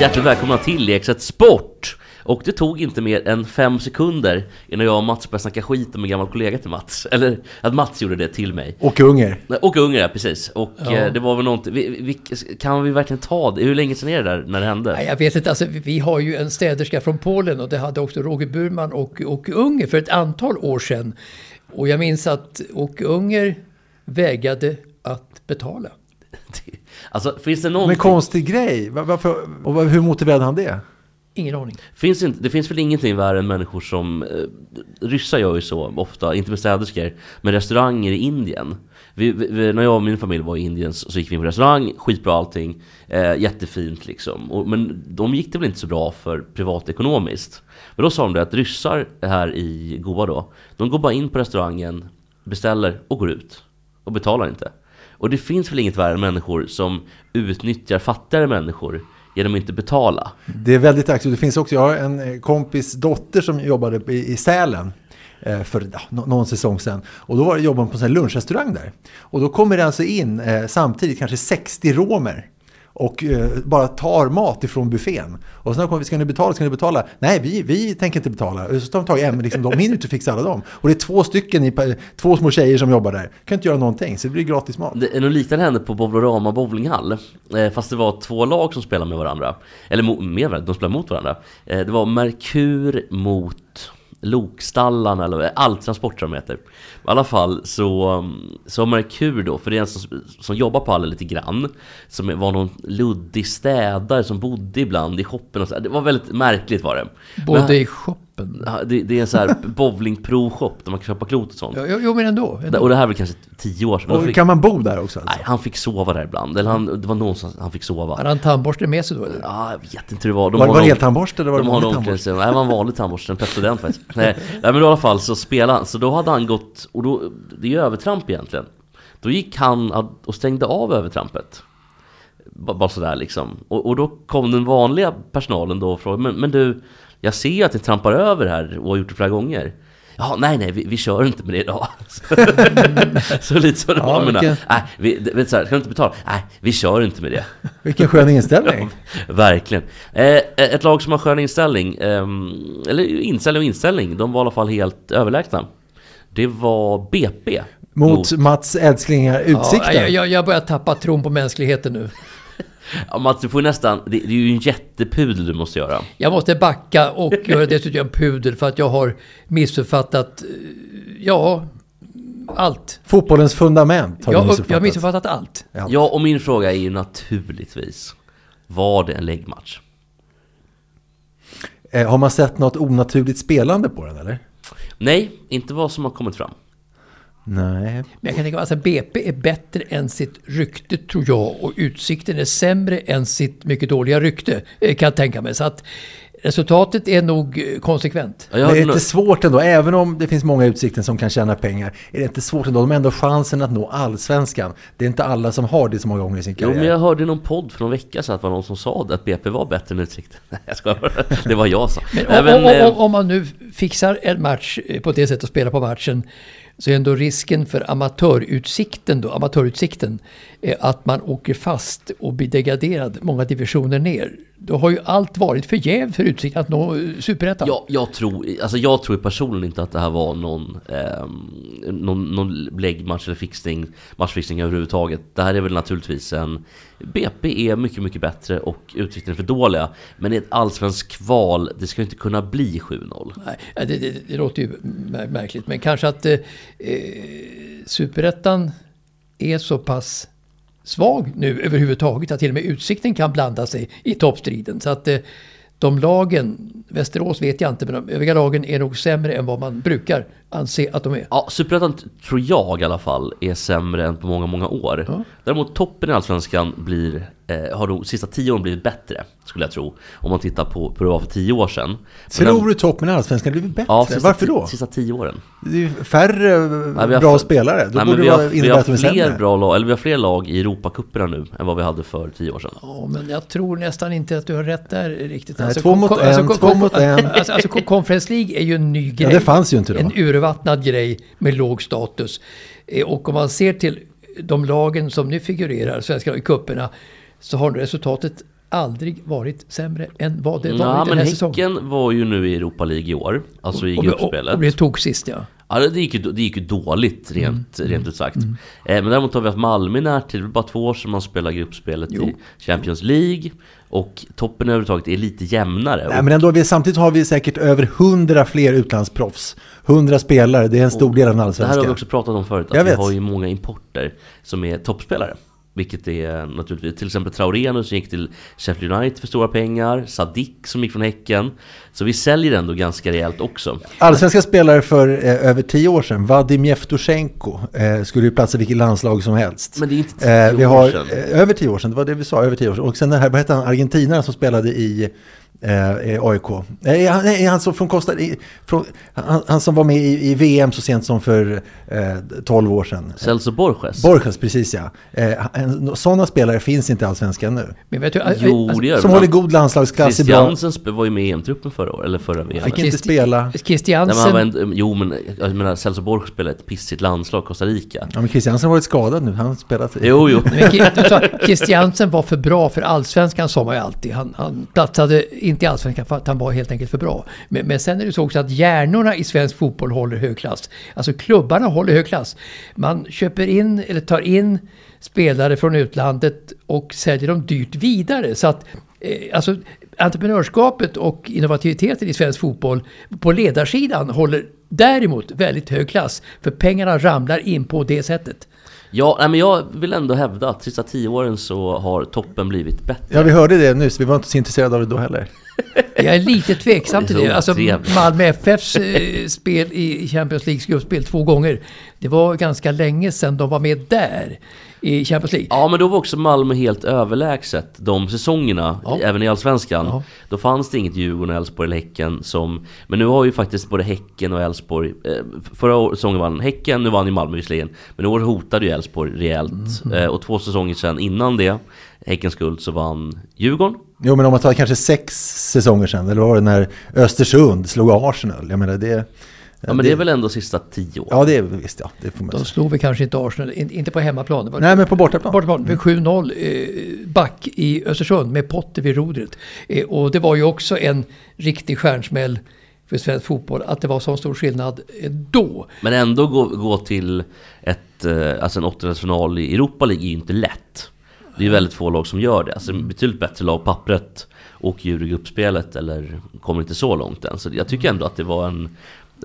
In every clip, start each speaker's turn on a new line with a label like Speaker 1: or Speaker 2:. Speaker 1: Hjärtligt välkomna till Leksatt Sport! Och det tog inte mer än fem sekunder innan jag och Mats började snacka skit om en gammal kollega till Mats. Eller att Mats gjorde det till mig.
Speaker 2: Och Unger.
Speaker 1: Nej, Och Ungern, ja, precis. Och eh, det var väl någonting... Vi, vi, kan vi verkligen ta det? Hur länge sedan är det där när det hände?
Speaker 3: Nej, jag vet inte, alltså, vi- vi har ju en städerska från Polen och det hade också Roger Burman och Åke Unger för ett antal år sedan. Och jag minns att Åke Unger vägrade att betala.
Speaker 1: Alltså, finns det
Speaker 2: Men
Speaker 1: någonting...
Speaker 2: konstig grej. Va- Varför, och va- hur motiverade han det?
Speaker 3: Ingen aning.
Speaker 1: Finns inte, det finns väl ingenting värre än människor som... Eh, ryssar gör ju så ofta, inte med städerskor, men restauranger i Indien. Vi, vi- vi, när jag och min familj var i Indien så så gick vi in på restaurang, skitbra allting, eh, jättefint liksom. Och, men de gick det väl inte så bra för privatekonomiskt. Men då sa de det att ryssar här i Goa då, de går bara in på restaurangen, beställer och går ut. Och betalar inte. Och det finns väl inget värre än människor som utnyttjar fattigare människor genom att inte betala.
Speaker 2: Det är väldigt aktivt. Det finns också, jag har en eh, kompis dotter som jobbade i, i Sälen eh, för ja, nå- någon säsong sedan. Och då var, jobbade hon på en sån här lunchrestaurang där. Och då kommer det alltså in eh, samtidigt kanske 60 romer och eh, bara tar mat ifrån buffén. Och sen kommer vi, ska ni betala, ska ni betala? Nej, vi, vi tänker inte betala. Och Så tar de tag i en, men liksom, de hinner inte fixa alla dem. Och det är två stycken, i, pa- två små tjejer som jobbar där. Kan inte göra någonting, så det blir gratis mat.
Speaker 1: Det, något liknande hände på Bowlorama bowlinghall. Eh, fast det var två lag som spelade med varandra. Eller mo, med varandra, de spelade mot varandra. Eh, det var Merkur mot Lokstallarna eller eh, Alltransport som de heter. I alla fall så, um, så har Merkur då, för det är en som, som jobbar på hallen lite grann. Som var någon luddig städare som bodde ibland i shoppen och så. Det var väldigt märkligt var det.
Speaker 3: Både
Speaker 1: Men,
Speaker 3: i shoppen.
Speaker 1: ja, det, det är en sån här bowlingpro-shop där man kan köpa klot och sånt.
Speaker 3: Jo, jo, men ändå. ändå.
Speaker 1: Och det här var kanske tio år sedan. Då
Speaker 2: Och
Speaker 1: fick-
Speaker 2: kan man bo där också? Alltså?
Speaker 1: Nej, han fick sova där ibland. Eller han, det var någonstans han fick sova.
Speaker 3: Hade han tandborsten med sig då eller?
Speaker 1: Ja, jag vet inte hur det var. De
Speaker 2: Var det
Speaker 1: har
Speaker 2: var
Speaker 1: en-
Speaker 2: eltandborste eller var
Speaker 1: de
Speaker 2: det
Speaker 1: har en
Speaker 2: vanlig tandborste?
Speaker 1: omklädningsrum. Nej, det var en vanlig tandborste. En petade den faktiskt. Nej, nej, men i alla fall så spelade han. Så då hade han gått, och då, det är ju övertramp egentligen. Då gick han ad- och stängde av övertrampet. B- Bara sådär liksom. Och, och då kom den vanliga personalen då och frågade, men, men du, jag ser ju att ni trampar över här och har gjort det flera gånger. Ja, nej, nej, vi, vi kör inte med det idag. så lite så det
Speaker 3: Ja,
Speaker 1: var med
Speaker 3: vilken-
Speaker 1: det. Nej, vi, det- vet, så här, ska du inte betala? Nej, vi kör inte med det.
Speaker 2: Vilken skön inställning.
Speaker 1: Verkligen. Eh, ett lag som har skön inställning, ehm, eller inställning och inställning, de var i alla fall helt överlägsna. Det var BP.
Speaker 2: Mot Mats älsklingar Utsikten.
Speaker 3: Ja, jag, jag- jag börjar tappa tron på mänskligheten nu.
Speaker 1: Ja, Mats, du får ju nästan... Det, det är ju en jättepudel du måste göra.
Speaker 3: Jag måste backa och göra dessutom en pudel för att jag har missuppfattat, eh, ja, allt.
Speaker 2: Fotbollens fundament har du
Speaker 3: Jag, jag har
Speaker 2: missuppfattat.
Speaker 3: missuppfattat allt.
Speaker 2: Ja.
Speaker 1: Ja, och min fråga är ju naturligtvis, var det en läggmatch?
Speaker 2: Eh, har man sett något onaturligt spelande på den eller?
Speaker 1: Nej, inte vad som har kommit fram.
Speaker 2: Nej.
Speaker 3: Men jag kan tänka mig att alltså, BP är bättre än sitt rykte tror jag och Utsikten är sämre än sitt mycket dåliga rykte eh, kan jag tänka mig. Så att resultatet är nog eh, konsekvent.
Speaker 1: Ja, jag
Speaker 2: Men det
Speaker 1: hörde
Speaker 2: är
Speaker 1: nog-
Speaker 2: inte svårt ändå, även om det finns många i Utsikten som kan tjäna pengar. Är det inte svårt ändå? De har ändå chansen att nå allsvenskan. Det är inte alla som har det så många gånger i sin
Speaker 1: Jo,
Speaker 2: karriär.
Speaker 1: men jag hörde i någon podd för någon vecka sedan att det var någon som sa att BP var bättre än Utsikten. Nej, jag skojar bara. Det var jag som... Nej,
Speaker 3: Om, om,
Speaker 1: eh,
Speaker 3: om, om man nu fixar en match eh, på det sättet och spelar på matchen så är ändå risken för amatörutsikten, då, amatörutsikten eh, att man åker fast och blir degraderad många divisioner ner. Då har ju allt varit förgäv för Utsikten att nå eh, superettan.
Speaker 1: Jag, jag, tror, alltså jag tror personligen inte att det här var någon, ehm, någon, någon läggmatch eller fixning, matchfixning överhuvudtaget. Det här är väl naturligtvis en... BP är mycket, mycket bättre och Utsikten är för dåliga. Men i ett allsvenskt kval, det ska ju inte kunna bli 7-0.
Speaker 3: Nej, det, det, det låter ju mär- märkligt. Men kanske att eh, eh, superettan är så pass svag nu överhuvudtaget. Att till och med Utsikten kan blanda sig i toppstriden. Så att eh, de lagen, Västerås vet jag inte, men de övriga lagen är nog sämre än vad man brukar anse att de är.
Speaker 1: Ja, Superettan t- tror jag i alla fall är sämre än på många, många år. Däremot toppen i Allsvenskan blir, eh, har de sista tio åren blivit bättre, skulle jag tro. Om man tittar på hur det var för tio år sedan. Men den-
Speaker 2: Tror du toppen i Allsvenskan blivit bättre?
Speaker 1: Ja, sista,
Speaker 2: Varför
Speaker 1: ti-
Speaker 2: då?
Speaker 1: Sista tio åren.
Speaker 2: Det är ju färre
Speaker 1: Nej, vi har
Speaker 2: bra
Speaker 1: f-
Speaker 2: spelare. Då
Speaker 1: Nej, men
Speaker 2: borde
Speaker 1: vi
Speaker 2: det
Speaker 1: har,
Speaker 2: vara-
Speaker 1: vi
Speaker 2: innebära
Speaker 1: har
Speaker 2: att de är
Speaker 1: fler
Speaker 2: sämre.
Speaker 1: bra lag, eller vi har fler lag i Europacuperna nu än vad vi hade för tio år sedan.
Speaker 3: Ja, men jag tror nästan inte att du har rätt där riktigt.
Speaker 2: Nej, två mot en, två mot en.
Speaker 3: Alltså, alltså kon- Conference League är ju en ny grej.
Speaker 2: det fanns ju inte då.
Speaker 3: En urvattnad grej med låg status. Eh, Och om man ser till de lagen som nu figurerar, svenska lag i cuperna, så har resultatet aldrig varit sämre än vad det
Speaker 1: Ja,
Speaker 3: varit den
Speaker 1: men
Speaker 3: här säsongen.
Speaker 1: Häcken var ju nu i Europa League i år, alltså i
Speaker 3: Och- och-
Speaker 1: gruppspelet.
Speaker 3: Och blev tog sist ja.
Speaker 1: Ja, det gick ju, det gick ju dåligt rent,
Speaker 2: Mm.
Speaker 1: rent ut sagt. Eh, men däremot har vi haft Malmö i närtid. Det var bara två år sedan man spelade gruppspelet i Champions League. Och toppen överhuvudtaget är lite jämnare.
Speaker 2: Nej, men ändå, vi, samtidigt har vi säkert över 100 fler utlandsproffs. 100 spelare, det är en stor del av den
Speaker 1: det här
Speaker 2: allsvenska.
Speaker 1: har vi också pratat om förut,
Speaker 2: Jag
Speaker 1: att vi
Speaker 2: vet.
Speaker 1: har ju många importer som är toppspelare. Vilket är eh, naturligtvis, till exempel Traoré nu som gick till Sheffield United för stora pengar, Sadik som gick från Häcken. Så vi säljer ändå ganska rejält också.
Speaker 2: Allsvenska spelare för eh, över 10 år sedan, Vadim Jevtusjenko, eh, skulle ju platsa i vilket landslag som helst.
Speaker 1: Men det är inte
Speaker 2: Eh,
Speaker 1: 10
Speaker 2: vi
Speaker 1: år
Speaker 2: har,
Speaker 1: sedan.
Speaker 2: eh, över 10 år sedan, det var det vi sa, över 10 år sedan. Och sen den här, vad hette han, argentinaren som spelade i eh, eh, AIK? Nej, han, nej, han som från Costa, i, från, han, han som var med i, i VM så sent som för eh, 12 år sedan.
Speaker 1: Celso Borges.
Speaker 2: Borges, precis ja. Eh, en- sådana spelare finns inte i Allsvenskan nu.
Speaker 3: Men vet du, alltså,
Speaker 1: jo, det gör
Speaker 2: Som
Speaker 1: vi.
Speaker 2: håller god landslagsklass i bra...
Speaker 1: Christiansen sp- var ju med i EM-truppen förra året, eller förra VM.
Speaker 2: Fick inte
Speaker 3: Christi-
Speaker 2: spela.
Speaker 1: Nej, men han
Speaker 3: Christiansen,
Speaker 1: var en, jo men jag menar Celso Borges spelade ett pissigt landslag, Costa Rica.
Speaker 2: Ja, men Christiansen har varit skadad nu, han har spelat... i-
Speaker 1: Jo, jo.
Speaker 3: Men Ki- du sa, Christiansen var för bra för allsvenskan sa man ju alltid. Han, han platsade inte i allsvenskan för att han var helt enkelt för bra. Men, men sen är det så också att hjärnorna i svensk fotboll håller hög klass. Alltså klubbarna håller hög klass. Man köper in eller tar in spelare från utlandet och säljer dem dyrt vidare. Så att eh, alltså, entreprenörskapet och innovativiteten i svensk fotboll på ledarsidan håller däremot väldigt hög klass. För pengarna ramlar in på det sättet.
Speaker 1: Ja, nej, men jag vill ändå hävda att sista tio åren så har toppen blivit bättre.
Speaker 2: Ja, vi hörde det nyss, vi var inte så intresserade av det då heller.
Speaker 3: Jag är lite tveksam till
Speaker 1: Det är
Speaker 3: det.
Speaker 1: så
Speaker 3: Alltså,
Speaker 1: otrevligt.
Speaker 3: Malmö FFs eh, spel i Champions Leagues gruppspel två gånger. Det var ganska länge sedan de var med där i Champions League.
Speaker 1: Ja, men då var också Malmö helt överlägset de säsongerna,
Speaker 3: Ja.
Speaker 1: även i Allsvenskan.
Speaker 3: Ja.
Speaker 1: Då fanns det inget Djurgården, Elfsborg eller Häcken som... Men nu har ju faktiskt både Häcken och Elfsborg... Eh, förra år- säsongen vann Häcken, nu vann ju Malmö visserligen. Men i år hotade ju Elfsborg rejält.
Speaker 3: Mm.
Speaker 1: Eh, och två säsonger sedan innan det, Häckens guld, så vann Djurgården.
Speaker 2: Jo, men om man tar kanske sex säsonger sedan, eller vad var det när Östersund slog Arsenal? Jag menar, det...
Speaker 1: Ja, men det är väl ändå sista tio åren?
Speaker 2: Ja, det är väl visst, ja. Det får man
Speaker 3: De
Speaker 2: säga.
Speaker 3: slog väl kanske inte Arsenal, in, inte på hemmaplan. Det var-
Speaker 2: Nej, men på bortaplan.
Speaker 3: Bortaplan med 7-0 eh, back i Östersund med Potter vid rodret. Eh, och det var ju också en riktig stjärnsmäll för svensk fotboll att det var så stor skillnad eh, då.
Speaker 1: Men ändå gå, gå till ett, eh, alltså en åttondelsfinal i Europa League är ju inte lätt. Det är ju väldigt få lag som gör det. Alltså betydligt bättre lag på pappret åker ur i gruppspelet eller kommer inte så långt än. Så jag tycker ändå att det var en,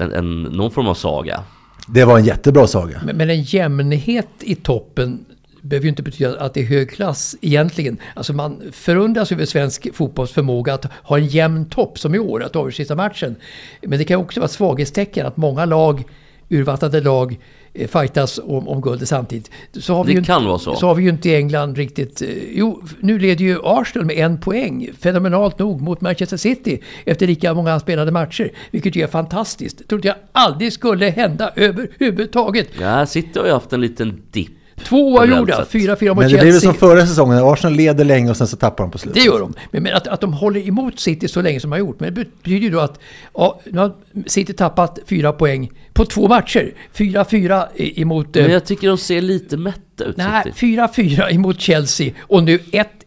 Speaker 1: en, en, någon form av saga.
Speaker 2: Det var en jättebra saga.
Speaker 3: Men, men en jämnhet i toppen behöver ju inte betyda att det är hög klass egentligen. Alltså man förundras över svensk fotbolls förmåga att ha en jämn topp som i år, att avgöra sista matchen. Men det kan också vara ett svaghetstecken att många lag, urvattnade lag, eh, fightas om, om guldet samtidigt. Så har vi
Speaker 1: Det
Speaker 3: ju inte-
Speaker 1: kan vara så.
Speaker 3: har vi ju inte i England riktigt... eh, Jo, nu leder ju Arsenal med en poäng, fenomenalt nog, mot Manchester City efter lika många spelade matcher. Vilket ju är fantastiskt. Det trodde jag aldrig skulle hända överhuvudtaget.
Speaker 1: Ja, City har ju haft en liten dipp.
Speaker 3: Tvåa
Speaker 1: Generellt
Speaker 3: gjorda,
Speaker 1: sett.
Speaker 3: 4-4
Speaker 2: Men
Speaker 3: mot
Speaker 2: det blir väl
Speaker 3: Chelsea.
Speaker 2: som förra säsongen, när Arsenal leder länge och sen så tappar de på
Speaker 3: Det
Speaker 2: slutet.
Speaker 3: gör de. Men, men att, att de håller emot City så länge som de har gjort. Men det betyder ju då att ja, nu har City tappat fyra poäng på två matcher. 4-4 i- emot... eh,
Speaker 1: Men jag tycker de ser lite mätta ut
Speaker 3: Nej,
Speaker 1: City.
Speaker 3: 4-4 emot Chelsea och nu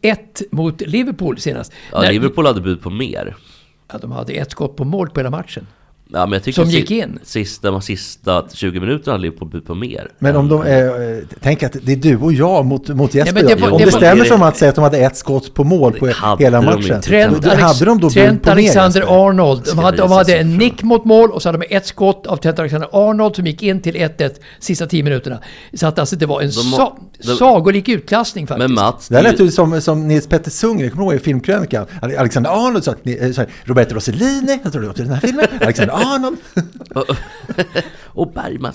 Speaker 3: 1-1 mot Liverpool senast.
Speaker 1: Ja,
Speaker 3: När-
Speaker 1: Liverpool hade bud på mer.
Speaker 3: Ja, de hade ett skott på mål på hela matchen.
Speaker 1: Ja, men jag tycker
Speaker 3: Som
Speaker 1: att
Speaker 3: gick
Speaker 1: si-
Speaker 3: in.
Speaker 1: Sista, de sista 20 minuterna hade på, på mer.
Speaker 2: Men om de, eh, tänk att det är du och jag mot, mot Jesper.
Speaker 3: Ja, men det var-
Speaker 2: om
Speaker 3: det
Speaker 2: det
Speaker 3: var-
Speaker 2: stämmer som att säga att de hade ett skott på mål på
Speaker 1: hade
Speaker 2: hela
Speaker 1: de
Speaker 2: matchen.
Speaker 1: inte.
Speaker 3: Trent,
Speaker 2: då,
Speaker 3: Alex-
Speaker 2: hade de då bjudit
Speaker 3: Trent
Speaker 2: på mer, Jesper?
Speaker 3: Alexander-Arnold. De
Speaker 1: Ska
Speaker 3: hade, de
Speaker 1: visa
Speaker 3: hade en
Speaker 1: siffror.
Speaker 3: nick mot mål och så hade de ett skott av Trent Alexander-Arnold som gick in till 1-1 sista 10 minuterna. Så att alltså det var en
Speaker 1: De-
Speaker 3: sa-
Speaker 1: de-
Speaker 3: sagolik utklassning faktiskt.
Speaker 1: Men Mats,
Speaker 2: Det här lät
Speaker 1: du-
Speaker 2: ju som, som Nils Petter Sundgren, kommer du ihåg i filmkrönikan? Ale- Alexander Arnold sa, att ni- eh, så här, Roberto Rossellini, jag tror det var till den här filmen, Alexander Arnold.
Speaker 1: och Bergman.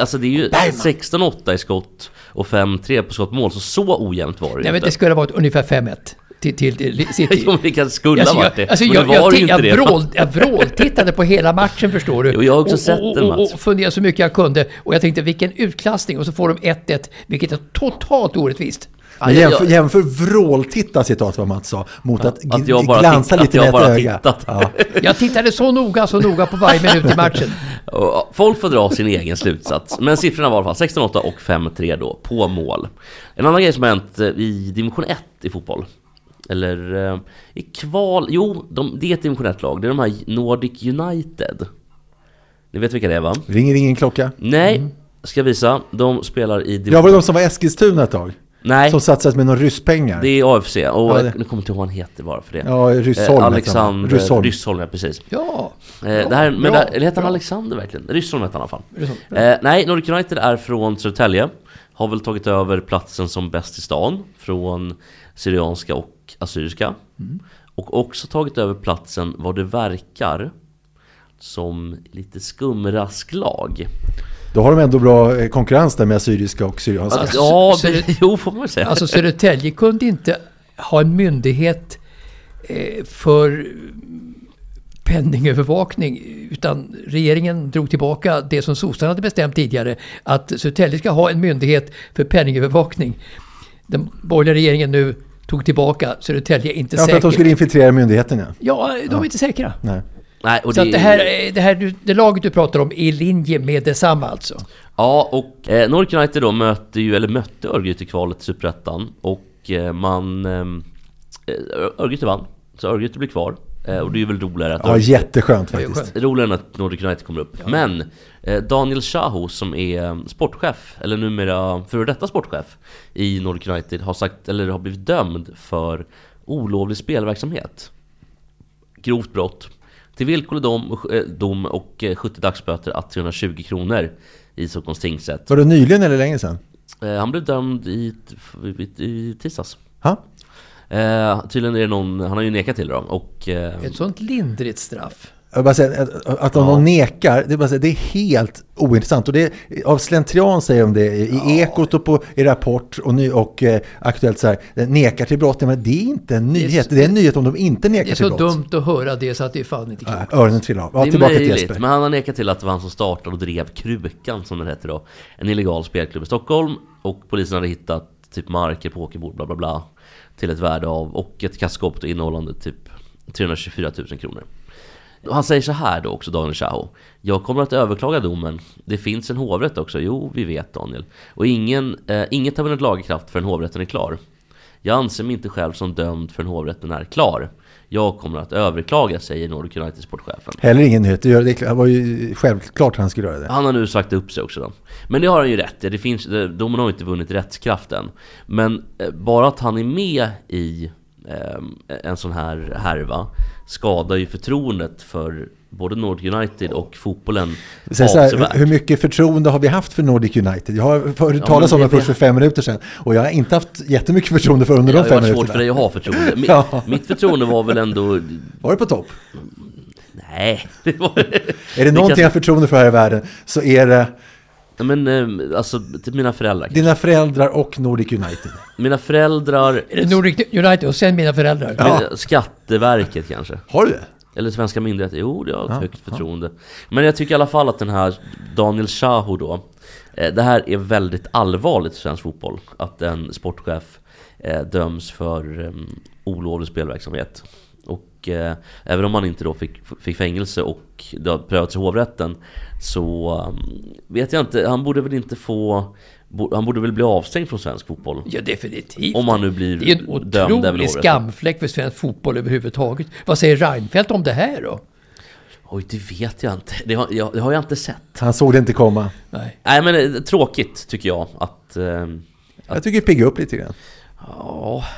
Speaker 1: Alltså det är ju 16-8 i skott och 5-3 på skottmål, så så ojämnt var det
Speaker 3: Nej, men det
Speaker 1: inte.
Speaker 3: skulle ha varit ungefär 5-1 till, till, till City.
Speaker 1: Jo, men det kanske skulle ha
Speaker 3: Alltså,
Speaker 1: varit
Speaker 3: jag,
Speaker 1: det.
Speaker 3: alltså,
Speaker 1: men
Speaker 3: jag,
Speaker 1: det var
Speaker 3: jag,
Speaker 1: ju inte
Speaker 3: jag,
Speaker 1: det.
Speaker 3: vrål, jag vråltittade på hela matchen förstår du.
Speaker 1: Jo, jag har också
Speaker 3: och,
Speaker 1: sett
Speaker 3: och,
Speaker 1: den,
Speaker 3: och,
Speaker 1: Mats.
Speaker 3: och funderade så mycket jag kunde. Och jag tänkte vilken utklassning. Och så får de 1-1, vilket är totalt orättvist.
Speaker 2: Men
Speaker 1: jag-
Speaker 2: jämför,
Speaker 1: jag-
Speaker 2: jämför vråltitta, citat vad Mats sa, mot att,
Speaker 1: att jag
Speaker 2: gl-
Speaker 1: bara
Speaker 2: glansa
Speaker 1: titt- att
Speaker 2: lite
Speaker 1: jag
Speaker 2: med
Speaker 1: bara
Speaker 2: ett öga.
Speaker 1: tittat.
Speaker 2: Ja.
Speaker 3: Jag tittade så noga, så noga på varje minut i matchen.
Speaker 1: Och Folk får dra sin egen slutsats. Men siffrorna var i alla fall 16-8 och 5-3 då, på mål. En annan grej som har hänt eh, i division 1 i fotboll. Eller eh, i kval... Jo, de, det är ett division 1-lag. Det är de här Nordic United. Ni vet vilka det är va?
Speaker 2: Ringer ingen klocka.
Speaker 1: Nej,
Speaker 3: Mm.
Speaker 1: ska jag visa. De spelar i division...
Speaker 2: Jag var de som var i Eskilstuna ett tag.
Speaker 1: Nej,
Speaker 2: Som satsades med några rysspengar.
Speaker 1: det är AFC. Och
Speaker 2: Ja, det-
Speaker 1: jag kommer inte ihåg vad han heter bara för det.
Speaker 2: Ja, Ryssholm
Speaker 1: eh,
Speaker 2: heter
Speaker 1: Alexander
Speaker 2: han. Ryssholm.
Speaker 1: Ryssholm. ja precis.
Speaker 3: Ja,
Speaker 1: Eh, det här, men
Speaker 3: bra,
Speaker 1: det, eller heter han
Speaker 3: bra.
Speaker 1: Alexander verkligen? Ryssholm hette han i alla fall. Eh, nej, Nordic United är från Södertälje. Har väl tagit över platsen som bäst i stan från Syrianska och Assyriska.
Speaker 2: Mm.
Speaker 1: Och också tagit över platsen, vad det verkar, som lite skumrasklag.
Speaker 2: Då har de ändå bra eh, konkurrens där med assyriska och syrianska.
Speaker 1: Alltså, ja,
Speaker 3: så-
Speaker 1: men- jo får man väl säga.
Speaker 3: alltså Södertälje kunde inte ha en myndighet eh, för penningövervakning utan regeringen drog tillbaka det som sossarna hade bestämt tidigare att Södertälje ska ha en myndighet för penningövervakning. Den borgerliga regeringen nu tog tillbaka Södertälje är inte
Speaker 2: Ja, för att de
Speaker 3: säkert.
Speaker 2: skulle infiltrera myndigheterna.
Speaker 3: Ja, de är inte säkra.
Speaker 2: Nej.
Speaker 1: nej, och
Speaker 3: Så att det här, eh, det här du- det laget du pratar om är i linje med detsamma alltså.
Speaker 1: Ja, och eh, Nordic United då mötte ju, eller mötte Örgryte i kvalet till Superettan och eh, man... ehm, Eh, Örgryte vann, så Örgryte blir kvar. Eh, och det är ju väl roligare att
Speaker 2: Ja,
Speaker 1: Örgryte-
Speaker 2: jätteskönt
Speaker 3: Det är ju
Speaker 2: faktiskt.
Speaker 3: skönt.
Speaker 1: roligare än att Nordic United kommer upp. Men eh, Daniel Shaho som är eh, sportchef, eller numera före detta sportchef i Nordic United har sagt, eller har blivit dömd för olovlig spelverksamhet. Grovt brott. Till villkorlig dom, och- eh, dom och eh, 70 dagsböter att 320 kronor i Stockholms tingsrätt.
Speaker 2: Var det nyligen eller länge sedan?
Speaker 1: Eh, Han blev dömd i, i, i tisdags.
Speaker 2: Ha?
Speaker 1: Eh, tydligen är det någon, han har ju nekat till det då. Och, eh,
Speaker 3: Ett sånt lindrigt straff.
Speaker 2: Jag bara säger, att, att om någon nekar, det är, bara säger, det är helt ointressant. Och det är, av slentrian säger de det i Ekot och på, i Rapport och, ny, och eh, Aktuellt så här, eh, nekar till brott. Ja, Men det är inte en nyhet. Det är en nyhet om de inte
Speaker 3: Det
Speaker 2: nekar
Speaker 3: är
Speaker 2: till
Speaker 3: så
Speaker 2: brott.
Speaker 3: dumt att höra det så att det är fan inte klokt.
Speaker 2: Nej, Öronen trillar av. Ja,
Speaker 1: det är
Speaker 2: tillbaka till
Speaker 1: möjligt,
Speaker 2: Jesper.
Speaker 1: men han har nekat till att det var han som startade och drev Krukan, som den heter då. En illegal spelklubb i Stockholm. Och polisen hade hittat typ marker, pokerbord, bla bla bla. Till ett värde av, och ett kassaskåp då innehållande typ 324 000 kronor. Och han säger så här då också, Daniel Shaho. Jag kommer att överklaga domen. Det finns en hovrätt också. Jo, vi vet Daniel. Och ingen, eh, inget har vunnit laga kraft förrän hovrätten är klar. Jag anser mig inte själv som dömd förrän hovrätten är klar. Jag kommer att överklaga, säger Nordic United sportchefen.
Speaker 2: Heller ingen nyhet. Det gör- det var ju självklart att han skulle göra det.
Speaker 1: Han har nu sagt upp sig också då. Men det har han ju rätt i. Det finns, det- domen har ju inte vunnit rättskraften. Men eh, bara att han är med i eh, en sån här härva skadar ju förtroendet för både Nordic United och fotbollen
Speaker 2: Säg så här,
Speaker 1: avsevärt.
Speaker 2: hur- hur mycket förtroende har vi haft för Nordic United? Jag har hört
Speaker 1: Ja,
Speaker 2: talas
Speaker 1: men
Speaker 2: om
Speaker 1: det-
Speaker 2: det först
Speaker 1: det-
Speaker 2: för fem minuter sedan och jag har inte haft jättemycket förtroende för under
Speaker 1: Det har
Speaker 2: de
Speaker 1: ju
Speaker 2: fem
Speaker 1: varit svårt
Speaker 2: minuterna.
Speaker 1: för dig att ha förtroende. Mitt,
Speaker 2: Ja.
Speaker 1: mitt förtroende var väl ändå...
Speaker 2: Var det på topp?
Speaker 1: Nej, det var...
Speaker 2: Är det någonting
Speaker 1: kanske-
Speaker 2: jag har förtroende för här i världen så är det
Speaker 1: Men eh, alltså, till mina föräldrar.
Speaker 2: dina föräldrar och Nordic United.
Speaker 1: Mina föräldrar...
Speaker 3: Är det Nordic United och sen mina föräldrar?
Speaker 1: Min, Skatteverket kanske.
Speaker 2: Har du det?
Speaker 1: Eller svenska myndigheter. Jo, det har ett högt förtroende. Men jag tycker i alla fall att den här Daniel Shaho då. eh, Det här är väldigt allvarligt för svensk fotboll. Att en sportchef eh, döms för eh, olovlig spelverksamhet. Och eh, även om han inte då fick, fick fängelse och det har prövats i hovrätten. Så eh, vet jag inte, han borde väl inte få... bo- Han borde väl bli avstängd från svensk fotboll.
Speaker 3: Ja, definitivt.
Speaker 1: Om han nu blir
Speaker 3: det är en
Speaker 1: dömd även i
Speaker 3: otrolig
Speaker 1: hovrätten.
Speaker 3: skamfläck för svensk fotboll överhuvudtaget. Vad säger Reinfeldt om det här då?
Speaker 1: Oj, det vet jag inte. Det har jag, det har jag inte sett.
Speaker 2: Han såg det inte komma.
Speaker 3: Nej.
Speaker 1: Nej men eh, tråkigt tycker jag att... ehm,
Speaker 2: Jag tycker det piggar upp lite grann.
Speaker 1: Ja...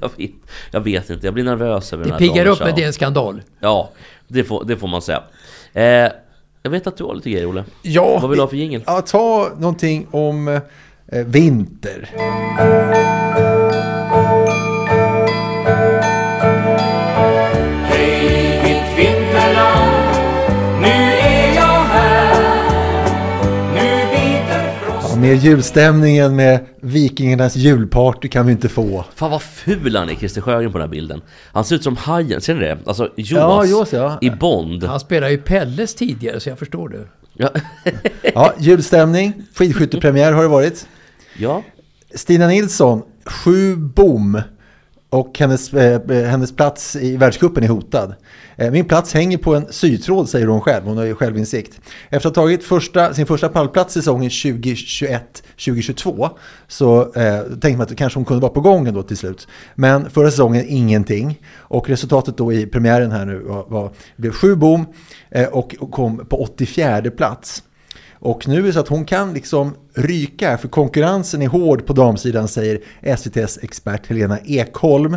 Speaker 1: Jag vet, jag vet inte, jag blir nervös över
Speaker 3: Det
Speaker 1: den här
Speaker 3: piggar
Speaker 1: Dawn
Speaker 3: upp, men
Speaker 1: Show.
Speaker 3: det är en skandal.
Speaker 1: Ja, det får, det får man säga. Eh, jag vet att du har lite grejer Olle.
Speaker 2: Ja,
Speaker 1: Vad vill du ha för jingel?
Speaker 2: Ja, ta någonting om eh, vinter.
Speaker 4: Hej mitt vinterland, nu är jag här. Nu biter
Speaker 2: Ja,
Speaker 4: frosten
Speaker 2: mer julstämningen med vikingarnas julparty kan vi inte få.
Speaker 1: Fan vad ful han är, Christer Sjögren på den här bilden. Han ser ut som hajen, ser ni det? Alltså
Speaker 2: Ja,
Speaker 1: Jonas
Speaker 2: Jonas, ja.
Speaker 1: i Bond.
Speaker 3: Han spelar ju Pelles tidigare, så jag förstår det.
Speaker 1: Ja.
Speaker 2: Ja, julstämning, skidskyttepremiär har det varit.
Speaker 1: ja.
Speaker 2: Stina Nilsson, sju bom. Och hennes, eh, hennes plats i världscupen är hotad. Eh, Min plats hänger på en sytråd, säger hon själv. Hon har ju självinsikt. Efter att ha tagit första, sin första pallplats säsongen 2021-2022 så eh, tänkte man att kanske hon kunde vara på gång ändå till slut. Men förra säsongen ingenting. Och resultatet då i premiären här nu var, var, blev sju bom eh, och kom på 84 plats. Och nu är det så att hon kan liksom ryka här, för konkurrensen är hård på damsidan säger SVTs expert Helena Ekholm.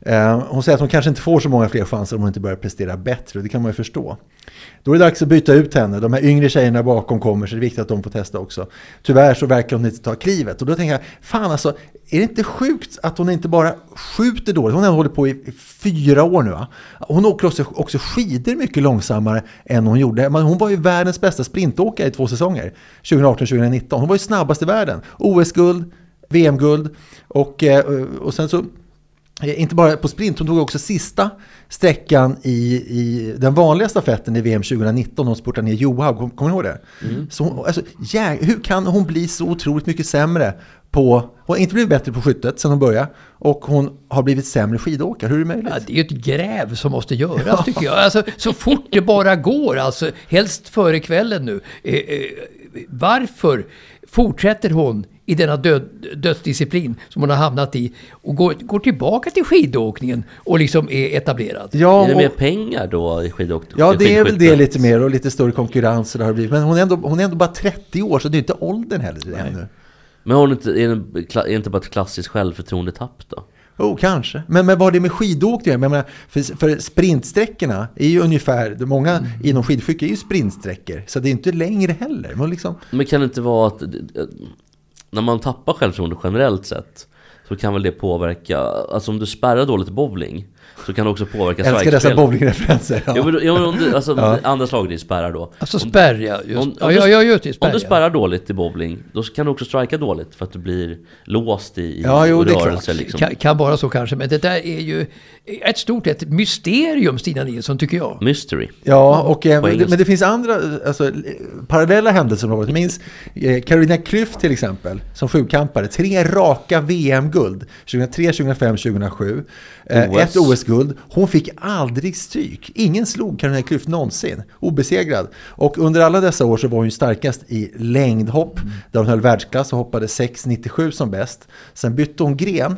Speaker 2: Eh, Hon säger att hon kanske inte får så många fler chanser om hon inte börjar prestera bättre och det kan man ju förstå. Då är det dags att byta ut henne. De här yngre tjejerna bakom kommer så det är viktigt att de får testa också. Tyvärr så verkar hon inte ta klivet och då tänker jag, fan alltså, är det inte sjukt att hon inte bara skjuter dåligt? Hon har ändå hållit på i i fyra år nu va? Hon åker också, också skidor mycket långsammare än hon gjorde. Men hon var ju världens bästa sprintåkare i två säsonger, 2018-2019. Hon var ju snabbast i världen. OS-guld, VM-guld och, eh, och sen så Eh, Inte bara på sprint, hon tog också sista sträckan i, i den vanliga stafetten i VM 2019. Hon spurtade ner Johaug, Kom- kommer ni ihåg det?
Speaker 1: Mm.
Speaker 2: Så hon, alltså, jä- hur kan hon bli så otroligt mycket sämre på... Hon har inte blivit bättre på skyttet sedan hon började och hon har blivit sämre skidåkare. Hur är det möjligt?
Speaker 3: Ja, det är ju ett gräv som måste göras tycker jag. Alltså, så fort det bara går, alltså, helst före kvällen nu. Eh, eh, varför fortsätter hon i denna död, dödsdisciplin som hon har hamnat i och går, går tillbaka till skidåkningen och liksom är etablerad?
Speaker 2: Ja,
Speaker 1: Är det
Speaker 2: och-
Speaker 1: mer pengar då i skidåkning?
Speaker 2: Ja, det är väl det lite mer och lite större konkurrens. och Det har blivit. Men hon är, ändå, hon är ändå bara 30 år, så det är inte åldern heller ännu.
Speaker 1: Men har hon inte, är det kla- är det inte bara ett klassiskt självförtroendetapp då?
Speaker 2: Oh, kanske. Men, men vad har det med skidåkning att göra? Men jag menar, för, för sprintsträckorna är ju ungefär, många
Speaker 1: Mm.
Speaker 2: inom skidskytte är ju sprintsträckor. Så det är inte längre heller. Men liksom,
Speaker 1: Men kan det inte vara att eh, när man tappar självförtroende generellt sett så kan väl det påverka, alltså om du spärrar dåligt i bowling så kan det också påverka
Speaker 2: jag älskar dessa
Speaker 1: strikespel.
Speaker 2: bowlingreferenser. Ja.
Speaker 1: Jo men, jo, men om du, alltså andra slaget är spärrar då.
Speaker 3: Alltså spärr, ja.
Speaker 1: Om,
Speaker 3: Just.
Speaker 1: om,
Speaker 3: Ja,
Speaker 1: du,
Speaker 3: ja, ja, just det.
Speaker 1: om
Speaker 3: Spärr,
Speaker 1: du
Speaker 3: ja.
Speaker 1: spärrar dåligt i bowling, då kan du också strika dåligt för att du blir låst i, i
Speaker 2: Ja, jo, det är
Speaker 1: rörelse.
Speaker 2: klart.
Speaker 1: Liksom.
Speaker 3: Kan, kan vara så kanske, men det där är ju ett stort ett mysterium, Stina Nilsson, tycker jag.
Speaker 1: Mystery.
Speaker 2: Ja, och, eh,
Speaker 1: På
Speaker 2: men, det,
Speaker 1: engelska.
Speaker 2: men det finns andra alltså, eh, parallella händelser som har varit. Jag minns eh, Carolina Klüft till exempel, som sjukampare. Tre raka VM-guld. 2003, 2005, 2007. Eh,
Speaker 1: OS.
Speaker 2: Ett OS-guld. Hon fick aldrig stryk. Ingen slog Carolina Klüft någonsin. Obesegrad. Och under alla dessa år så var hon ju starkast i längdhopp. Där hon höll världsklass och hoppade 6,97 som bäst. Sen bytte hon gren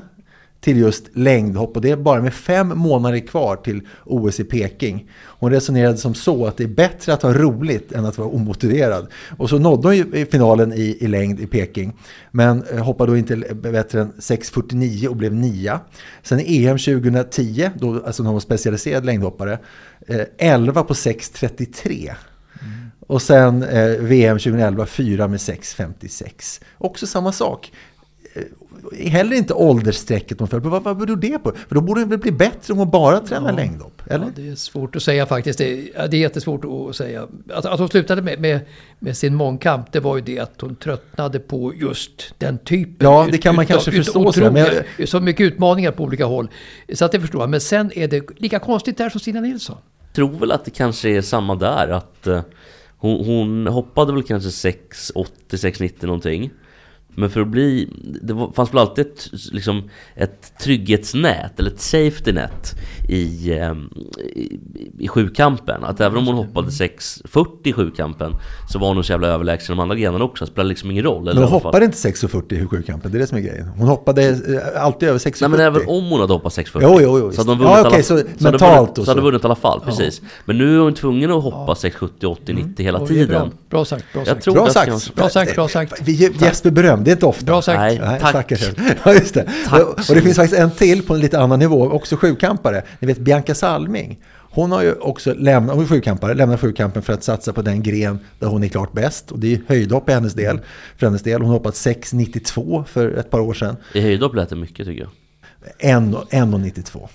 Speaker 2: till just längdhopp och det är bara med fem månader kvar till OS i Peking. Hon resonerade som så att det är bättre att ha roligt än att vara omotiverad. Och så nådde hon ju i finalen i, i längd i Peking. Men eh, hoppade då inte l- bättre än 6,49 och blev nia. Sen i EM 2010, då, alltså när hon var specialiserad längdhoppare, eh, 11 på 6,33.
Speaker 3: Mm.
Speaker 2: Och sen eh, VM 2011, 4 med 6,56. Också samma sak. Eh, heller inte åldersstrecket hon föll på. Vad, vad beror det på? För då borde hon väl bli bättre om hon bara tränar längdhopp? Eller?
Speaker 3: Ja, det är svårt att säga faktiskt. Det, ja, det är jättesvårt att säga. Att, att hon slutade med, med, med sin mångkamp, det var ju det att hon tröttnade på just den typen.
Speaker 2: Ja,
Speaker 3: ut-
Speaker 2: det kan man
Speaker 3: utav-
Speaker 2: kanske
Speaker 3: utav
Speaker 2: förstå, tror jag, men
Speaker 3: otroliga- Så mycket utmaningar på olika håll. Så att det förstår jag. Men sen är det lika konstigt där som Stina Nilsson.
Speaker 1: tror väl att det kanske är samma där att eh, hon, hon hoppade väl kanske 6,80, 6,90 någonting Men för att bli, det var- fanns väl alltid ett, liksom, ett trygghetsnät, eller ett safety net i, ehm, i, i sjukampen. Att även om hon hoppade 6,40 i sjukampen så var hon nog så jävla överlägsen de andra grenarna också. Det spelade liksom ingen roll.
Speaker 2: Men
Speaker 1: Eller
Speaker 2: hon
Speaker 1: i alla fall-
Speaker 2: hoppade inte 6,40 i sjukampen, det är det som är grejen. Hon hoppade eh, alltid över 6,40.
Speaker 1: Nej men även om hon hade hoppat 6,40
Speaker 2: Jo, jo, jo,
Speaker 1: så hade
Speaker 2: visst.
Speaker 1: hon vunnit
Speaker 2: Ja, okej,
Speaker 1: alla,
Speaker 2: så
Speaker 1: hade
Speaker 2: mentalt
Speaker 1: hon vunnit,
Speaker 2: och
Speaker 1: så hade hon
Speaker 2: så.
Speaker 1: vunnit i alla fall, precis. Men nu är hon tvungen att hoppa 6,70, 80,
Speaker 2: Mm.
Speaker 1: 90 hela
Speaker 3: Oj,
Speaker 1: tiden.
Speaker 3: bra, bra sagt, bra
Speaker 1: Jag
Speaker 3: sagt.
Speaker 1: tror
Speaker 2: Bra
Speaker 1: att
Speaker 2: sagt.
Speaker 1: kanske-
Speaker 3: Bra sagt, bra sagt.
Speaker 2: Vi ger Jesper beröm, det är inte ofta.
Speaker 3: Bra sagt.
Speaker 1: Nej,
Speaker 2: Nej,
Speaker 1: tack.
Speaker 2: stackars. Ja, just det.
Speaker 1: Tack.
Speaker 2: Och, och det finns faktiskt en till på en lite annan nivå, också sjukampare. Ni vet Bianca Salming. Hon har ju också lämnat, hon är sjukampare, lämnat sjukampen för att satsa på den gren där hon är klart bäst. Och det är höjdhopp i hennes del, för hennes del. Hon har hoppat 6,92 för ett par år sedan.
Speaker 1: I höjdhopp lät det mycket tycker jag.
Speaker 2: 1,92.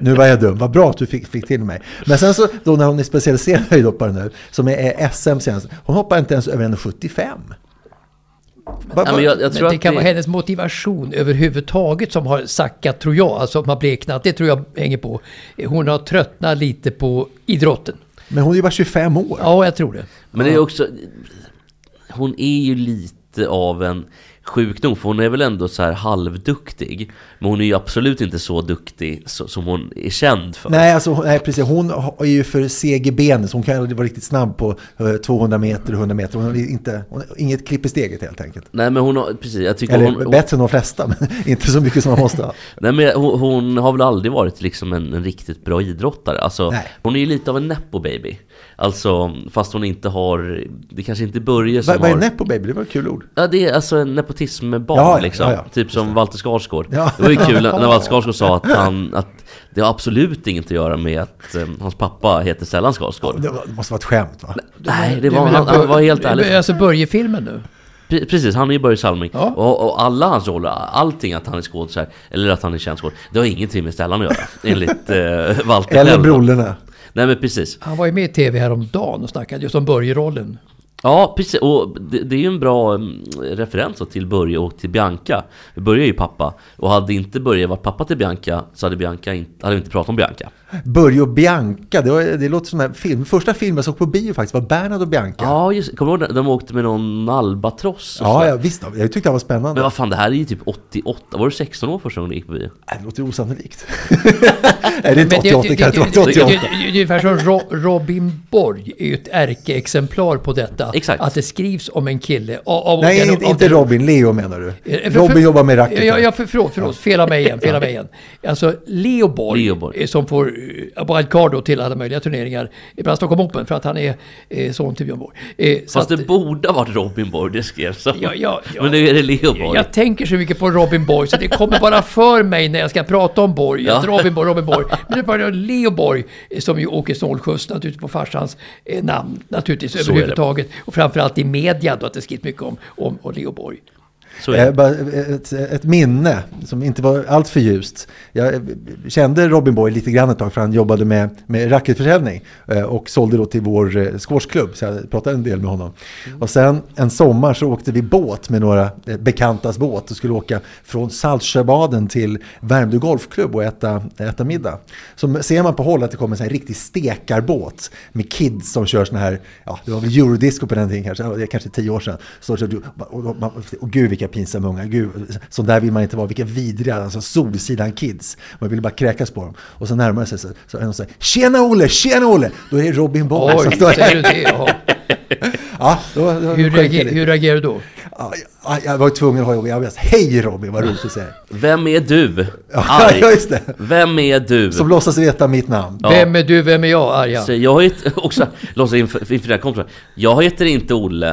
Speaker 2: Nu var jag dum, vad bra att du fick, fick till mig. Men sen så då när hon är specialiserad höjdhoppare nu, som är eh, SM senast, hon hoppar inte ens över 1,75. Va-
Speaker 1: Nej, men jag, jag tror
Speaker 3: Men det
Speaker 1: att
Speaker 3: kan vara hennes motivation överhuvudtaget som har sackat, tror jag. Alltså att man bleknat, det tror jag hänger på. Hon har tröttnat lite på idrotten.
Speaker 2: Men hon är ju bara 25 år.
Speaker 3: Ja, jag tror det.
Speaker 1: Men det är också... Hon är ju lite av en sjukdom, för hon är väl ändå så här halvduktig. Men hon är ju absolut inte så duktig så, som hon är känd för.
Speaker 2: Nej, alltså, hon- nej, precis. Hon har- är ju för seg i benen, så hon kan aldrig vara riktigt snabb på eh, 200 meter, 100 meter. Hon är inte, hon har inget klipp i steget helt enkelt.
Speaker 1: Nej men hon har, precis, jag tycker
Speaker 2: Eller
Speaker 1: hon, hon,
Speaker 2: bättre än de flesta, men inte så mycket som man måste ha.
Speaker 1: Nej men hon, hon har väl aldrig varit liksom en, en riktigt bra idrottare. Alltså,
Speaker 2: Nej.
Speaker 1: hon är ju lite av en nepo baby. Alltså fast hon inte har, det kanske inte är Börje som
Speaker 2: Vad vad är
Speaker 1: har...
Speaker 2: näpp på baby? Det var ett kul ord.
Speaker 1: Ja det är alltså en nepotismbarn
Speaker 2: Ja, ja,
Speaker 1: liksom.
Speaker 2: ja, ja.
Speaker 1: Typ som Walter Skarsgård.
Speaker 2: Ja.
Speaker 1: Det var ju kul när när Walter Skarsgård sa att, han, att det har absolut inget att göra med att eh, hans pappa heter Stellan Skarsgård.
Speaker 2: Det var- det måste vara ett skämt va?
Speaker 1: Nej, det
Speaker 3: Du
Speaker 1: var,
Speaker 3: menar
Speaker 1: han, han var helt ärlig.
Speaker 3: Alltså Börje-filmen nu.
Speaker 1: Pre- Precis, han är ju Börje Salming.
Speaker 3: Ja.
Speaker 1: Och, och alla hans roller, allting att han är skådis här, eller att han är känd skådis, det har ingenting med Stellan att göra. enligt eh, Walter
Speaker 2: Eller
Speaker 1: själv.
Speaker 2: brollerna.
Speaker 1: Nej men precis.
Speaker 3: Han var ju med i tv häromdagen och snackade just om Börje-rollen.
Speaker 1: Ja, precis. Och det, det är ju en bra mm, referens då till Börje och till Bianca. Börje är ju pappa. Och hade inte Börje varit pappa till Bianca så hade, Bianca inte, hade vi inte pratat om Bianca.
Speaker 2: Börje och Bianca, det, var, det låter som en film. Första filmen jag såg på bio faktiskt var Bernhard och Bianca. Ja,
Speaker 1: Ja, just Kommer du ihåg när de åkte med någon albatross? och
Speaker 2: ja,
Speaker 1: sådär?
Speaker 2: visst. Jag tyckte det var spännande.
Speaker 1: Men vad fan, det här är ju typ 88. Var du 16 år första gången du gick på bio?
Speaker 2: Nej, Det låter ju osannolikt. Nej, det är inte
Speaker 3: Men
Speaker 2: 88, det kan inte
Speaker 3: det-
Speaker 2: vara
Speaker 3: det- det-
Speaker 2: 88.
Speaker 3: det- det är Ungefär som Ro- Robin Borg är ju ett ärkeexemplar på detta.
Speaker 1: Exakt.
Speaker 3: Att det skrivs om en kille. Av, av,
Speaker 2: Nej,
Speaker 3: av-
Speaker 2: inte,
Speaker 3: av-
Speaker 2: inte Robin. Leo menar du.
Speaker 3: Eh, för- för-
Speaker 2: Robin jobbar med racketar.
Speaker 3: Ja, ja för, förlåt, förlåt. Fel av mig igen. Fel av mig igen. Alltså Leoborg,
Speaker 1: Leoborg.
Speaker 3: eh, som får eh, wildcard då till alla möjliga turneringar. Ibland Stockholm Open för att han är eh, son till Björn Borg. Eh, så
Speaker 1: Fast
Speaker 3: att-
Speaker 1: det borde ha varit Robin Borg det skrevs om.
Speaker 3: Ja, ja, ja.
Speaker 1: Men nu är det Leo Borg.
Speaker 3: Jag tänker så mycket på Robin Borg så det kommer bara för mig när jag ska prata om Borg.
Speaker 1: Ja.
Speaker 3: Att Robin Borg, Robin Borg. Men det är bara Leo Borg eh, som ju åker snålskjuts naturligtvis på farsans eh, namn. Naturligtvis
Speaker 1: är det.
Speaker 3: överhuvudtaget. Och framförallt i media då att det skrivs mycket om, om, om Leo Borg.
Speaker 1: Så är det.
Speaker 2: Eh, bara Ett, ett minne som inte var allt för ljust. Jag eh, kände Robin Boy lite grann ett tag för han jobbade med, med racketförsäljning eh, och sålde då till vår eh, squashklubb så jag pratade en del med honom.
Speaker 1: Mm.
Speaker 2: Och sen en sommar så åkte vi båt med några eh, bekantas båt och skulle åka från Saltsjöbaden till Värmdö golfklubb och äta, äta middag. Så ser man på håll att det kommer en sån här riktig stekarbåt med kids som kör sån här, ja det var väl eurodisco på den tiden kanske, ja, det är kanske tio år sedan. Så, så, och, och, och, och gud vilka pinsamma unga, gud, så där vill man inte vara, vilka vidriga, alltså Solsidan kids. Man vill bara kräkas på dem. Och så närmar sig så, så är de så här, tjena Olle, tjena Olle! Då är det Robin Boy som
Speaker 3: Oj,
Speaker 2: står
Speaker 3: säger
Speaker 2: där.
Speaker 3: du det? Ja.
Speaker 2: Ja, då, då, då
Speaker 3: Hur,
Speaker 2: skänker jag
Speaker 3: reager,
Speaker 2: lite.
Speaker 3: hur reagerar du då?
Speaker 2: Ja, jag, jag var tvungen att ha jobbet, jag bara, hej Robin, vad roligt att se dig.
Speaker 1: Vem är du?
Speaker 2: Ja,
Speaker 1: Arg.
Speaker 2: ja, just det.
Speaker 1: Vem är du?
Speaker 2: Som låtsas veta mitt namn.
Speaker 1: Ja.
Speaker 3: Vem är du, vem är jag? Ah, Arga.
Speaker 1: Så jag heter, också, låtsas inför, inför dina kompisar. Jag heter inte Olle.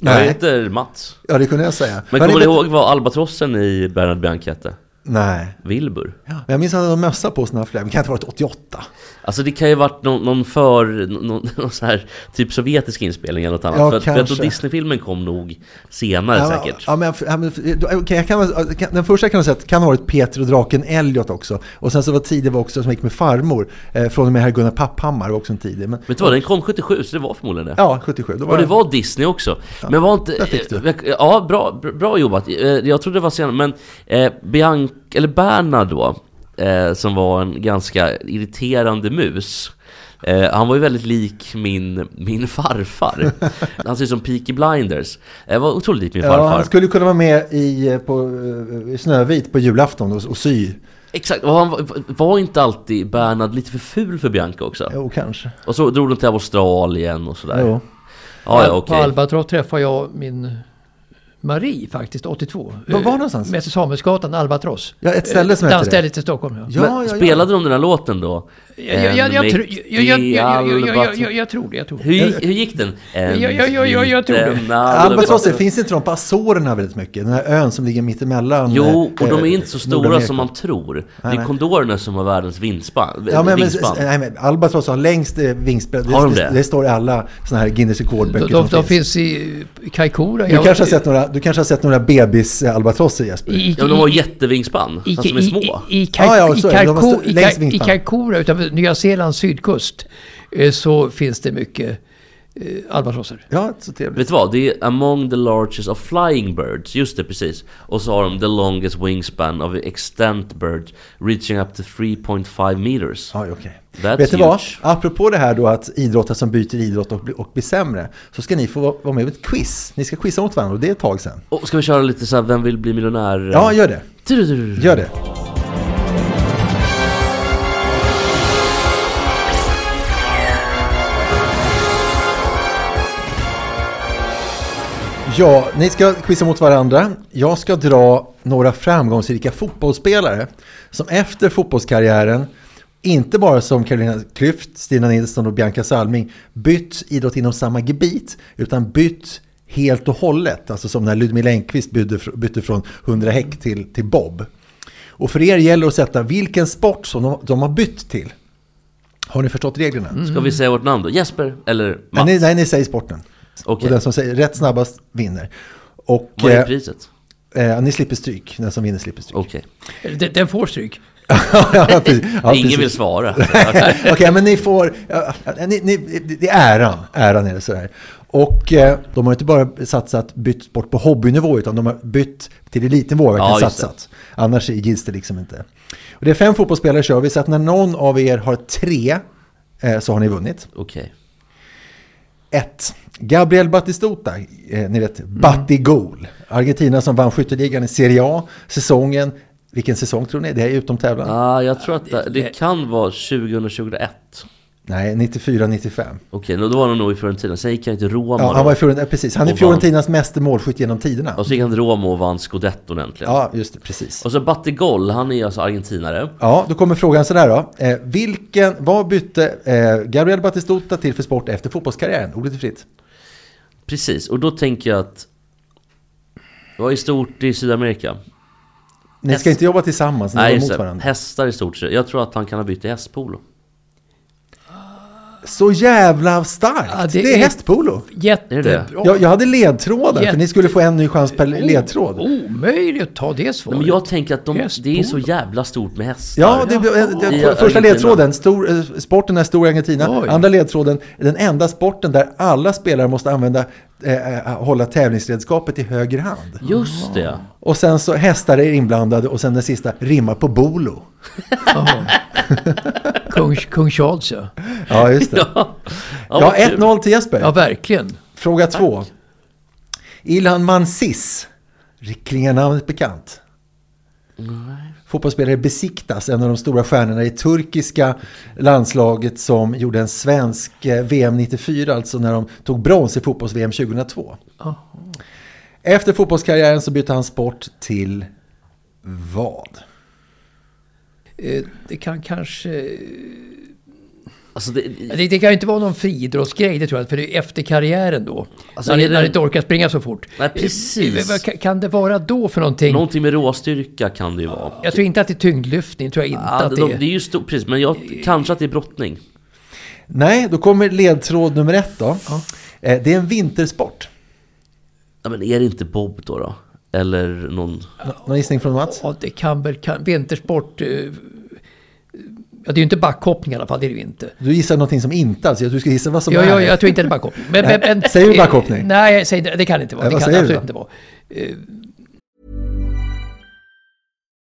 Speaker 1: Jag
Speaker 2: Nej.
Speaker 1: heter Mats.
Speaker 2: Ja, det kunde jag säga.
Speaker 1: Men
Speaker 2: Vad är
Speaker 1: kommer du
Speaker 2: det-
Speaker 1: ihåg vad albatrossen i Bernard Bianca hette?
Speaker 2: Nej.
Speaker 1: Wilbur.
Speaker 2: Men jag minns att han hade mössa på sig när han flög. Men kan inte ha varit 88?
Speaker 1: Alltså det kan ju varit någon, någon för, någon, någon så här, typ sovjetisk inspelning eller något annat.
Speaker 2: Ja,
Speaker 1: för att, för att då
Speaker 2: kanske.
Speaker 1: Disney-filmen kom nog senare
Speaker 2: Ja,
Speaker 1: säkert.
Speaker 2: Ja, men, ja, men, okej, jag kan, kan- den första kan jag säga att kan ha varit Peter och draken Elliot också. Och sen så var tidig var också som gick med farmor. Eh, från och med herr Gunnar Papphammar var också en tidig. Men,
Speaker 1: Vet du vad, den kom 77 så det var förmodligen det.
Speaker 2: ja, 77. Då var
Speaker 1: Och det
Speaker 2: den-
Speaker 1: var Disney också. men var inte...
Speaker 2: där fick du.
Speaker 1: eh, Ja, bra, bra jobbat. Eh, Jag trodde det var senare, men eh, Bianca, eller Bernard då, eh, som var en ganska irriterande mus. Eh, han var ju väldigt lik min, min farfar. Han ser ut som Peaky Blinders. Eh, var otroligt lik min
Speaker 2: Ja,
Speaker 1: farfar.
Speaker 2: han skulle kunna vara med i, eh, på, eh, Snövit på julafton och, och sy.
Speaker 1: Exakt, och han var, var inte alltid Bernhard lite för ful för Bianca också?
Speaker 2: Jo, kanske.
Speaker 1: Och så drog de till Australien och sådär.
Speaker 2: Jo.
Speaker 1: Ja, ja,
Speaker 3: På
Speaker 1: okej.
Speaker 3: Albatross träffade jag min Marie faktiskt, 82.
Speaker 2: Var- var någonstans?
Speaker 3: Mäster Samuelsgatan, Albatross.
Speaker 2: Ja, ett ställe som heter det.
Speaker 3: Dansstället i Stockholm, ja.
Speaker 2: Ja,
Speaker 1: Men
Speaker 2: ja, ja.
Speaker 1: Spelade de den här låten då?
Speaker 3: Jag- jag- jag- jag
Speaker 1: En
Speaker 3: tror-
Speaker 1: mäktig
Speaker 3: jag- jag- jag- jag- jag- jag- jag-
Speaker 1: Albatross.
Speaker 3: jag- Jag tror det, jag tror det.
Speaker 1: Hur, gick- hur gick den? Ehm, En
Speaker 3: Ja, ja, ja, ja, jag tror det.
Speaker 1: liten
Speaker 2: Albatross, finns inte de på Azorerna väldigt mycket? Den här ön som ligger mittemellan.
Speaker 1: Jo, och
Speaker 2: eh,
Speaker 1: de är
Speaker 2: eh,
Speaker 1: inte så stora
Speaker 2: Nordamerika.
Speaker 1: som man tror. det är
Speaker 2: nej.
Speaker 1: kondorerna som har världens vinspan.
Speaker 2: Ja, men, men,
Speaker 1: vingspann.
Speaker 2: nej, men Albatross har längst eh, vingspann.
Speaker 1: eh, Har de det?
Speaker 2: det? det står i alla sådana här Guinness
Speaker 3: De,
Speaker 2: rekordböcker som
Speaker 3: de, de
Speaker 2: finns.
Speaker 3: finns i Kaikoura.
Speaker 2: Du kanske har sett några, du kanske har sett några bebis-albatrosser Jesper?
Speaker 3: i,
Speaker 1: ja, men de har jättevingspann.
Speaker 3: i,
Speaker 1: Fast de är
Speaker 3: i-
Speaker 1: små.
Speaker 3: I, i,
Speaker 2: Ja, ja,
Speaker 3: Kaiko- i,
Speaker 2: så är det. De har
Speaker 3: Kaiko-
Speaker 2: stå-
Speaker 3: i,
Speaker 2: längst
Speaker 3: Kai- i
Speaker 2: vingspann.
Speaker 3: Kaikoura utanför Nya Zeelands sydkust eh, så finns det mycket eh, albatrosser.
Speaker 2: Ja, så trevligt.
Speaker 1: Vet du vad? Det är among the largest of flying birds. Just det, precis. Och så har de the longest wingspan of extant birds reaching up to 3.5 meters.
Speaker 2: Ja, okej.
Speaker 1: That's
Speaker 2: Vet du vad?
Speaker 1: huge.
Speaker 2: Apropå det här då att idrottare som byter idrott och, bli- och blir sämre, så ska ni få vara- vara med i ett quiz. Ni ska quizza mot varandra och det är ett tag sedan.
Speaker 1: Och ska vi köra lite så här, vem vill bli miljonär?
Speaker 2: Ja, gör det.
Speaker 1: Du-du-du-du.
Speaker 2: Gör det. Ja, ni ska quizza mot varandra. Jag ska dra några framgångsrika fotbollsspelare som efter fotbollskarriären, inte bara som Carolina Klüft, Stina Nilsson och Bianca Salming, bytt idrott inom samma gebit, utan bytt helt och hållet. Alltså som när Ludmilla Engquist bytte, fr- bytte från 100 häck till, till bob. Och för er gäller det att sätta vilken sport som de, de har bytt till. Har ni förstått reglerna?
Speaker 1: Ska vi säga vårt namn då? Jesper eller
Speaker 2: Nej,
Speaker 1: Mm. Mats?
Speaker 2: ni, nej, ni säger sporten.
Speaker 1: Okej.
Speaker 2: Och den som säger rätt snabbast vinner. Och,
Speaker 1: Vad är
Speaker 2: eh,
Speaker 1: priset?
Speaker 2: Eh, ni slipper stryk, den som vinner slipper stryk.
Speaker 1: Okej.
Speaker 3: Eller Den, den får stryk.
Speaker 2: ja, precis. Ja,
Speaker 1: Ingen
Speaker 2: precis.
Speaker 1: vill svara.
Speaker 2: Okej, men ni får... ja, ja, ni, ni, det är äran. Äran är det sådär. Och eh, de har inte bara satsat, bytt sport på hobbynivå, utan de har bytt till elitnivå och verkligen
Speaker 1: Ja, just det.
Speaker 2: satsat. Annars gills det liksom inte. Och det är fem fotbollsspelare kör vi, så att när någon av er har tre eh, så har ni vunnit.
Speaker 1: Okej.
Speaker 2: 1. Gabriel Batistuta, eh, ni vet,
Speaker 1: Mm.
Speaker 2: Batigol. Argentina som vann skytteligan i Serie A säsongen. Vilken säsong tror ni? Det är utom tävlan.
Speaker 1: Ah, jag tror att det, det kan vara 2001.
Speaker 2: Nej, 94-95.
Speaker 1: Okej, okay, då var han nog i Fiorentina. Sen gick han till Roma.
Speaker 2: Ja,
Speaker 1: då.
Speaker 2: han var i Fiorentina, eh, precis. Han är
Speaker 1: Och
Speaker 2: Fiorentinas mest målskytt genom tiderna.
Speaker 1: Och så gick han till Roma och vann scudetton äntligen.
Speaker 2: Ja, just det, precis.
Speaker 1: Och så Battigol, han är alltså argentinare.
Speaker 2: Ja, då kommer frågan sådär då. Eh, vilken, vad bytte eh, Gabriel Batistuta till för sport efter fotbollskarriären? Ordet är fritt.
Speaker 1: Precis, och då tänker jag att... Vad är stort i Sydamerika?
Speaker 2: Ni ska
Speaker 1: Häst.
Speaker 2: inte jobba tillsammans, ni
Speaker 1: Nej,
Speaker 2: jobbar
Speaker 1: just
Speaker 2: mot
Speaker 1: det.
Speaker 2: varandra.
Speaker 1: Hästar i stort sett. Jag tror att han kan ha bytt till hästpolo.
Speaker 2: Så jävla starkt!
Speaker 3: Ja, det
Speaker 2: det, är
Speaker 3: är-
Speaker 2: hästpolo!
Speaker 1: Är det
Speaker 3: Jättebra.
Speaker 1: det?
Speaker 2: Jag, jag hade ledtråden, för
Speaker 3: Jätte-
Speaker 2: ni skulle få en ny chans per Oh, ledtråd.
Speaker 3: Omöjligt att ta det
Speaker 1: Nej,
Speaker 3: svaret.
Speaker 1: men jag tänker att de, det är så
Speaker 3: Hästpolo.
Speaker 1: jävla stort med hästar.
Speaker 2: Ja, det, eh, det,
Speaker 1: I
Speaker 2: det, första
Speaker 1: Argentina.
Speaker 2: ledtråden, stor, eh, sporten är stor i Argentina.
Speaker 3: Oj.
Speaker 2: Andra ledtråden, den enda sporten där alla spelare måste använda, eh, eh, hålla tävlingsredskapet i höger hand.
Speaker 1: Just det.
Speaker 2: Och sen så hästar är inblandade och sen den sista, rimma på bolo.
Speaker 3: Jaha. Kung, Kung Charles ja.
Speaker 2: Ja, just det.
Speaker 1: Ja,
Speaker 2: Ja,
Speaker 1: vad kul.
Speaker 2: 1-0 till
Speaker 3: Ja,
Speaker 2: Jesper.
Speaker 3: verkligen.
Speaker 2: Fråga två. Ilhan Mansis, klingar namnet bekant? Fotbollsspelare Besiktas, en av de stora stjärnorna i turkiska landslaget som gjorde en svensk eh, VM 94, alltså när de tog brons i fotbolls-VM 2002. Efter fotbollskarriären så bytte han sport till vad?
Speaker 3: Eh, Det kan kanske...
Speaker 1: Alltså, det,
Speaker 3: Det, det kan ju inte vara någon friidrottsgrej, det tror jag, för det är efter karriären då.
Speaker 1: Alltså,
Speaker 3: när,
Speaker 1: är
Speaker 3: det,
Speaker 1: det-
Speaker 3: när det inte orkar springa så fort.
Speaker 1: Nej, precis.
Speaker 3: Eh, vad Kan, kan det vara då för någonting?
Speaker 1: någonting med råstyrka kan det ju vara.
Speaker 3: Jag tror inte att det är tyngdlyftning, tror jag inte
Speaker 1: Ja,
Speaker 3: att
Speaker 1: de,
Speaker 3: det
Speaker 1: det
Speaker 3: är. Eh,
Speaker 1: är ju stort, precis. Men jag, kanske att det är brottning.
Speaker 2: Nej, då kommer ledtråd nummer ett då. Eh, Det är en vintersport.
Speaker 1: Ja, men är det inte Bob då? då? Eller någon...
Speaker 2: Nå- Någon gissning från Mats?
Speaker 3: Ja, det kan väl... Kan, vintersport... eh, eh, Ja, det är ju inte backhoppning i alla fall, det är det ju inte.
Speaker 2: Du gissar någonting som inte alls, jag tror du ska gissa vad som
Speaker 3: Ja,
Speaker 2: är.
Speaker 3: ja, jag tror inte det är backhoppning. Men, men, men,
Speaker 2: Säger du
Speaker 3: eh,
Speaker 2: backhoppning?
Speaker 3: Nej, säg, det det kan det inte vara.
Speaker 2: Nej,
Speaker 3: Det
Speaker 2: vad
Speaker 3: kan det
Speaker 2: säger du
Speaker 3: absolut
Speaker 2: då?
Speaker 3: inte vara. Eh,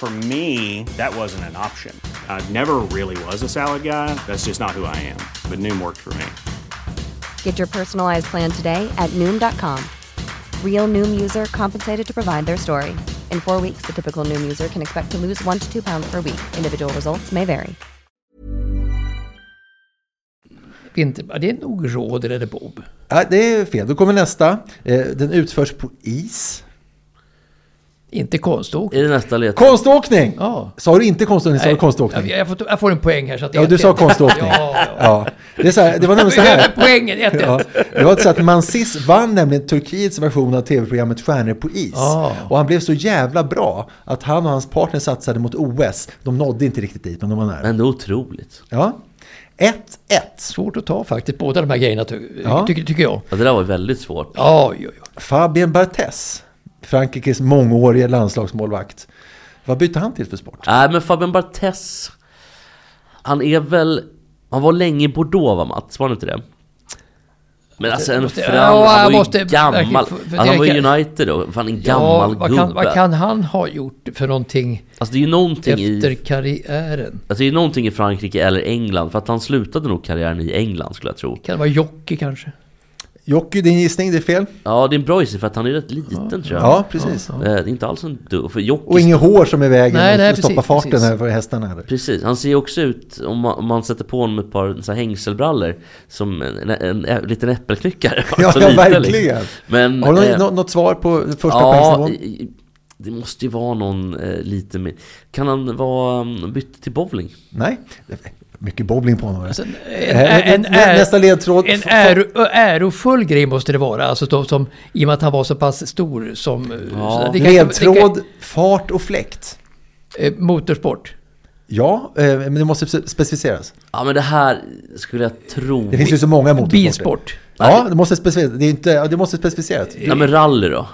Speaker 5: For me, that wasn't an option. I never really was a salad guy. That's just not who I am. But Noom worked for me.
Speaker 6: Get your personalized plan today at Noom.com. Real Noom user compensated to provide their story. In four weeks, the typical Noom user can expect to lose one to two pounds per week. Individual results may vary.
Speaker 3: Vinter, ja, det är nog Råder eller Bob.
Speaker 2: Nej, det är fel. Då kommer nästa. Eh, Den utförs på is.
Speaker 3: Inte konståkning.
Speaker 1: Är det nästa led?
Speaker 2: Konståkning!
Speaker 3: Ja.
Speaker 2: Sa du inte konståkning, sa du
Speaker 3: Nej,
Speaker 2: konståkning?
Speaker 3: Jag, jag, får, jag får en poäng här. Så att det är
Speaker 2: Ja, du
Speaker 3: ett-
Speaker 2: sa konståkning.
Speaker 3: Ja, ja.
Speaker 2: Ja. Det, är så här, det var nämligen så
Speaker 3: Jag
Speaker 2: här.
Speaker 3: har poängen, 1-1.
Speaker 2: Ja, det var så att Mansis vann nämligen Turkiets version av tv-programmet Stjärnor på is.
Speaker 3: Ah.
Speaker 2: Och han blev så jävla bra att han och hans partner satsade mot OS. De nådde inte riktigt dit, men de var nära.
Speaker 1: Ändå otroligt.
Speaker 2: Ja. 1-1.
Speaker 3: Svårt att ta faktiskt, båda de här grejerna ty,
Speaker 2: Ja.
Speaker 3: tycker, tycker jag.
Speaker 1: Ja, det där var väldigt svårt.
Speaker 3: Ja, oj, oj, oj.
Speaker 2: Fabien Barthez, Frankrikes mångårige landslagsmålvakt. Vad bytte han till för sport?
Speaker 1: Nej, men Fabian Barthez. Han är väl... Han var länge i Bordeaux va Mats? Var han inte det? Men alltså en
Speaker 3: måste-
Speaker 1: Fran,
Speaker 3: ja, jag
Speaker 1: han var
Speaker 3: måste
Speaker 1: ju gammal.
Speaker 3: verkligen få-
Speaker 1: Alltså,
Speaker 3: fundera
Speaker 1: han var ju
Speaker 3: kring-
Speaker 1: United då. Fan en gammal
Speaker 3: ja, vad,
Speaker 1: gubbe.
Speaker 3: kan, vad kan han ha gjort för någonting
Speaker 1: Alltså det är ju någonting
Speaker 3: efter
Speaker 1: i...
Speaker 3: karriären?
Speaker 1: Alltså det är någonting i Frankrike eller England. För att han slutade nog karriären i England skulle jag tro.
Speaker 3: Kan det vara jockey kanske?
Speaker 2: Jocke, din gissning, det är fel.
Speaker 1: Ja, det är en bra gissning för att han är rätt liten tror jag.
Speaker 2: Ja, precis.
Speaker 1: Eh, Det är inte alls en du... För Jocke...
Speaker 2: Och inget hår som är i vägen
Speaker 3: Nej,
Speaker 2: och
Speaker 3: nej,
Speaker 2: stoppa
Speaker 3: precis,
Speaker 2: farten
Speaker 3: precis.
Speaker 2: här för hästarna. Här.
Speaker 1: Precis, han ser ju också ut, om man, om man sätter på honom ett par så här hängselbrallor, som en, en, en, ä- liten äppelknyckare.
Speaker 2: Ja,
Speaker 1: Så
Speaker 2: ja,
Speaker 1: liten,
Speaker 2: verkligen.
Speaker 1: liksom. Men,
Speaker 2: Har du
Speaker 3: Mm,
Speaker 1: eh,
Speaker 2: nå- något svar på första
Speaker 1: ja,
Speaker 2: poängsnivån?
Speaker 1: i- i- det måste ju vara någon eh, lite mer... Kan han vara um, bytt till bowling?
Speaker 2: Nej, mycket bowling på honom.
Speaker 3: Alltså, En,
Speaker 2: Eh,
Speaker 3: en, en,
Speaker 2: nä- nästa ledtråd.
Speaker 3: en
Speaker 2: F-
Speaker 3: äro, ärofull grej måste det vara, alltså som, som, i och med att han var så pass stor som... så det kan-
Speaker 2: Ledtråd, fart och fläkt.
Speaker 3: det kan- eh, motorsport.
Speaker 2: Ja, eh, men det måste spe- specificeras.
Speaker 1: Ja men det här skulle jag tro...
Speaker 2: Det finns ju så många motorsporter.
Speaker 3: Bilsport.
Speaker 2: Ja, det måste specificeras. Det, är inte, ja, det måste specificeras.
Speaker 1: Ja men rally då?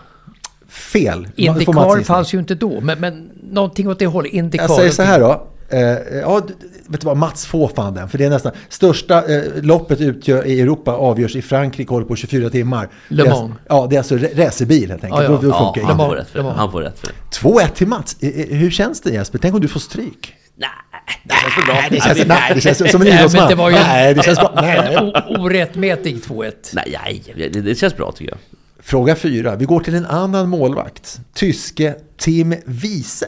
Speaker 2: Fel. Man får Mats
Speaker 3: Indycar
Speaker 2: gissning.
Speaker 3: fanns ju inte då, men, men någonting åt det hållet. Indycar.
Speaker 2: Jag säger så här då. Eh, ja, du- du- vet du vad, Mats får fan den. För det är nästan största eh, loppet utgör i Europa avgörs i Frankrike, håller på 24 timmar.
Speaker 3: Le
Speaker 2: Det är alltså-
Speaker 3: Mans.
Speaker 2: Ja, det är alltså ra- racerbil helt enkelt.
Speaker 3: Ja, ja.
Speaker 2: Då, då
Speaker 1: Ja,
Speaker 2: funkar
Speaker 1: han
Speaker 2: det.
Speaker 3: var-
Speaker 1: får rätt för det.
Speaker 3: det var-
Speaker 1: Han får rätt för det.
Speaker 2: 2-1 till Mats. Eh, eh, Hur känns det Jesper? Tänk om du får stryk?
Speaker 1: Nej, det känns för bra.
Speaker 2: Det känns, nej, det känns som en
Speaker 3: Nej, men
Speaker 2: idrottsman.
Speaker 3: det var ju-
Speaker 2: Nej, det känns bra. Nej.
Speaker 3: O- Orättmätig 2-1.
Speaker 1: Nej, nej, det, det känns bra tycker jag.
Speaker 2: Fråga fyra. Vi går till en annan målvakt. Tyske Tim Wiese.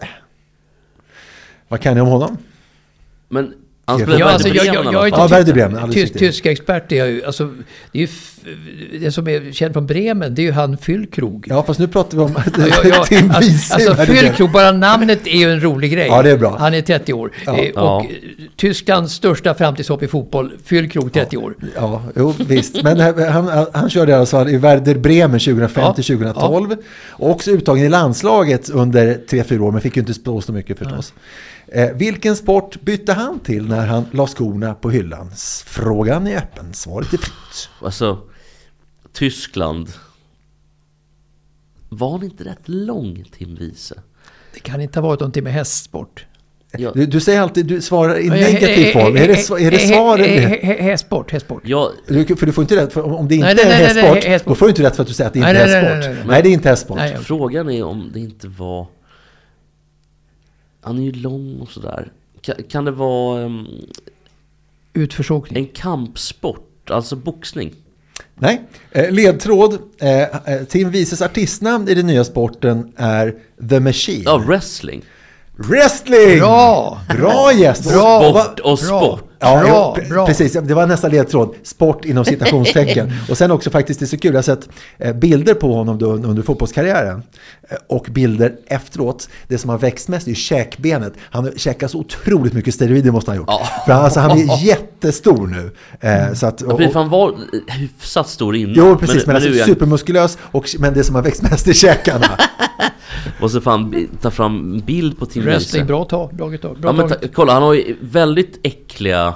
Speaker 2: Vad kan ni om honom?
Speaker 1: Men han
Speaker 2: Ja,
Speaker 1: spelar
Speaker 2: alltså,
Speaker 1: Werder
Speaker 3: jag- jag-
Speaker 1: Bremen,
Speaker 3: jag är
Speaker 1: alltså.
Speaker 3: inte-
Speaker 2: Ja, Werder Bremen. alldeles
Speaker 3: Tysk,
Speaker 2: riktigt.
Speaker 3: tyska expert är jag ju. Alltså, det är ju f- det som är känd från Bremen, det är ju han Füllkrog.
Speaker 2: Ja, fast nu pratar vi om
Speaker 3: Ja, ja,
Speaker 2: Tim Wiese. i
Speaker 3: alltså, alltså
Speaker 2: Werder Bremen.
Speaker 3: Füllkrog, bara namnet är ju en rolig grej.
Speaker 2: Ja, det är bra.
Speaker 3: Han är 30 år. Eh, Och
Speaker 1: Ja.
Speaker 3: eh, Tysklands största framtidshopp i fotboll, Füllkrog 30 år.
Speaker 2: Ja, jo, visst. Men eh, han, han körde i alla fall i Werder Bremen 2005
Speaker 3: Ja,
Speaker 2: till 2012. Och också uttagen i landslaget under 3-4 år, men fick ju inte spå så mycket förstås. Eh, vilken sport bytte han till när han la skorna på hyllan? S- Frågan är öppen, svaret är fritt.
Speaker 1: Alltså, Tyskland. Var han inte rätt lång, Tim Wiese?
Speaker 3: Det kan inte ha varit någonting med hästsport.
Speaker 1: Jag,
Speaker 2: Du, du säger alltid, du svarar i
Speaker 3: Men jag-
Speaker 2: negativ
Speaker 3: eh,
Speaker 2: form.
Speaker 3: eh,
Speaker 2: Är det,
Speaker 3: eh,
Speaker 2: sva- är det
Speaker 3: eh,
Speaker 2: svaret?
Speaker 3: eh, eh, eh, Hästsport, hästsport.
Speaker 1: jag,
Speaker 2: Du, för du får inte rätt, för om- om det inte
Speaker 3: Nej, nej,
Speaker 2: är
Speaker 3: nej, nej,
Speaker 2: hästsport,
Speaker 3: nej, hästsport.
Speaker 2: då får du inte rätt för att du säger att det inte
Speaker 3: Nej,
Speaker 2: är
Speaker 3: nej, nej,
Speaker 2: hästsport. Nej,
Speaker 3: nej, nej, nej.
Speaker 2: det är inte hästsport.
Speaker 3: Nej, jag-
Speaker 1: frågan är om det inte var... Han är ju lång och sådär. Kan, kan det vara ehm,
Speaker 3: Utförsåkning.
Speaker 1: en kampsport? Alltså boxning?
Speaker 2: Nej. Eh, Ledtråd. Eh, eh, Tim Wieses artistnamn i den nya sporten är The Machine.
Speaker 1: Ja, wrestling.
Speaker 2: Wrestling!
Speaker 3: Bra!
Speaker 2: Bra gäst!
Speaker 3: Bra!
Speaker 2: Och
Speaker 1: Sport och sport.
Speaker 2: Ja,
Speaker 3: Bra,
Speaker 2: ja, pre-
Speaker 3: bra.
Speaker 2: precis. Det var nästa ledtråd. Sport inom citationstecken. och sen också faktiskt, det är så kul, jag har sett eh, bilder på honom då under fotbollskarriären. eh, Och bilder efteråt. Det som har växt mest är ju käkbenet. Han käkar så otroligt mycket steroider måste han ha gjort. För han, alltså, han är jättestor nu. Eh, så att, och,
Speaker 1: Fy
Speaker 2: och,
Speaker 1: fan var eh, hyfsat stor innan.
Speaker 2: jo, precis. Men, alltså,
Speaker 1: nu är han-
Speaker 2: supermuskulös. Och, men det som har växt mest är käkarna.
Speaker 1: måste fan bi- ta fram en bild på Tim
Speaker 3: Wrestling,
Speaker 1: Wellse.
Speaker 3: bra tag. Bra tag. Bra
Speaker 1: Ja men
Speaker 3: tag.
Speaker 1: ta, kolla, han har ju väldigt äckliga...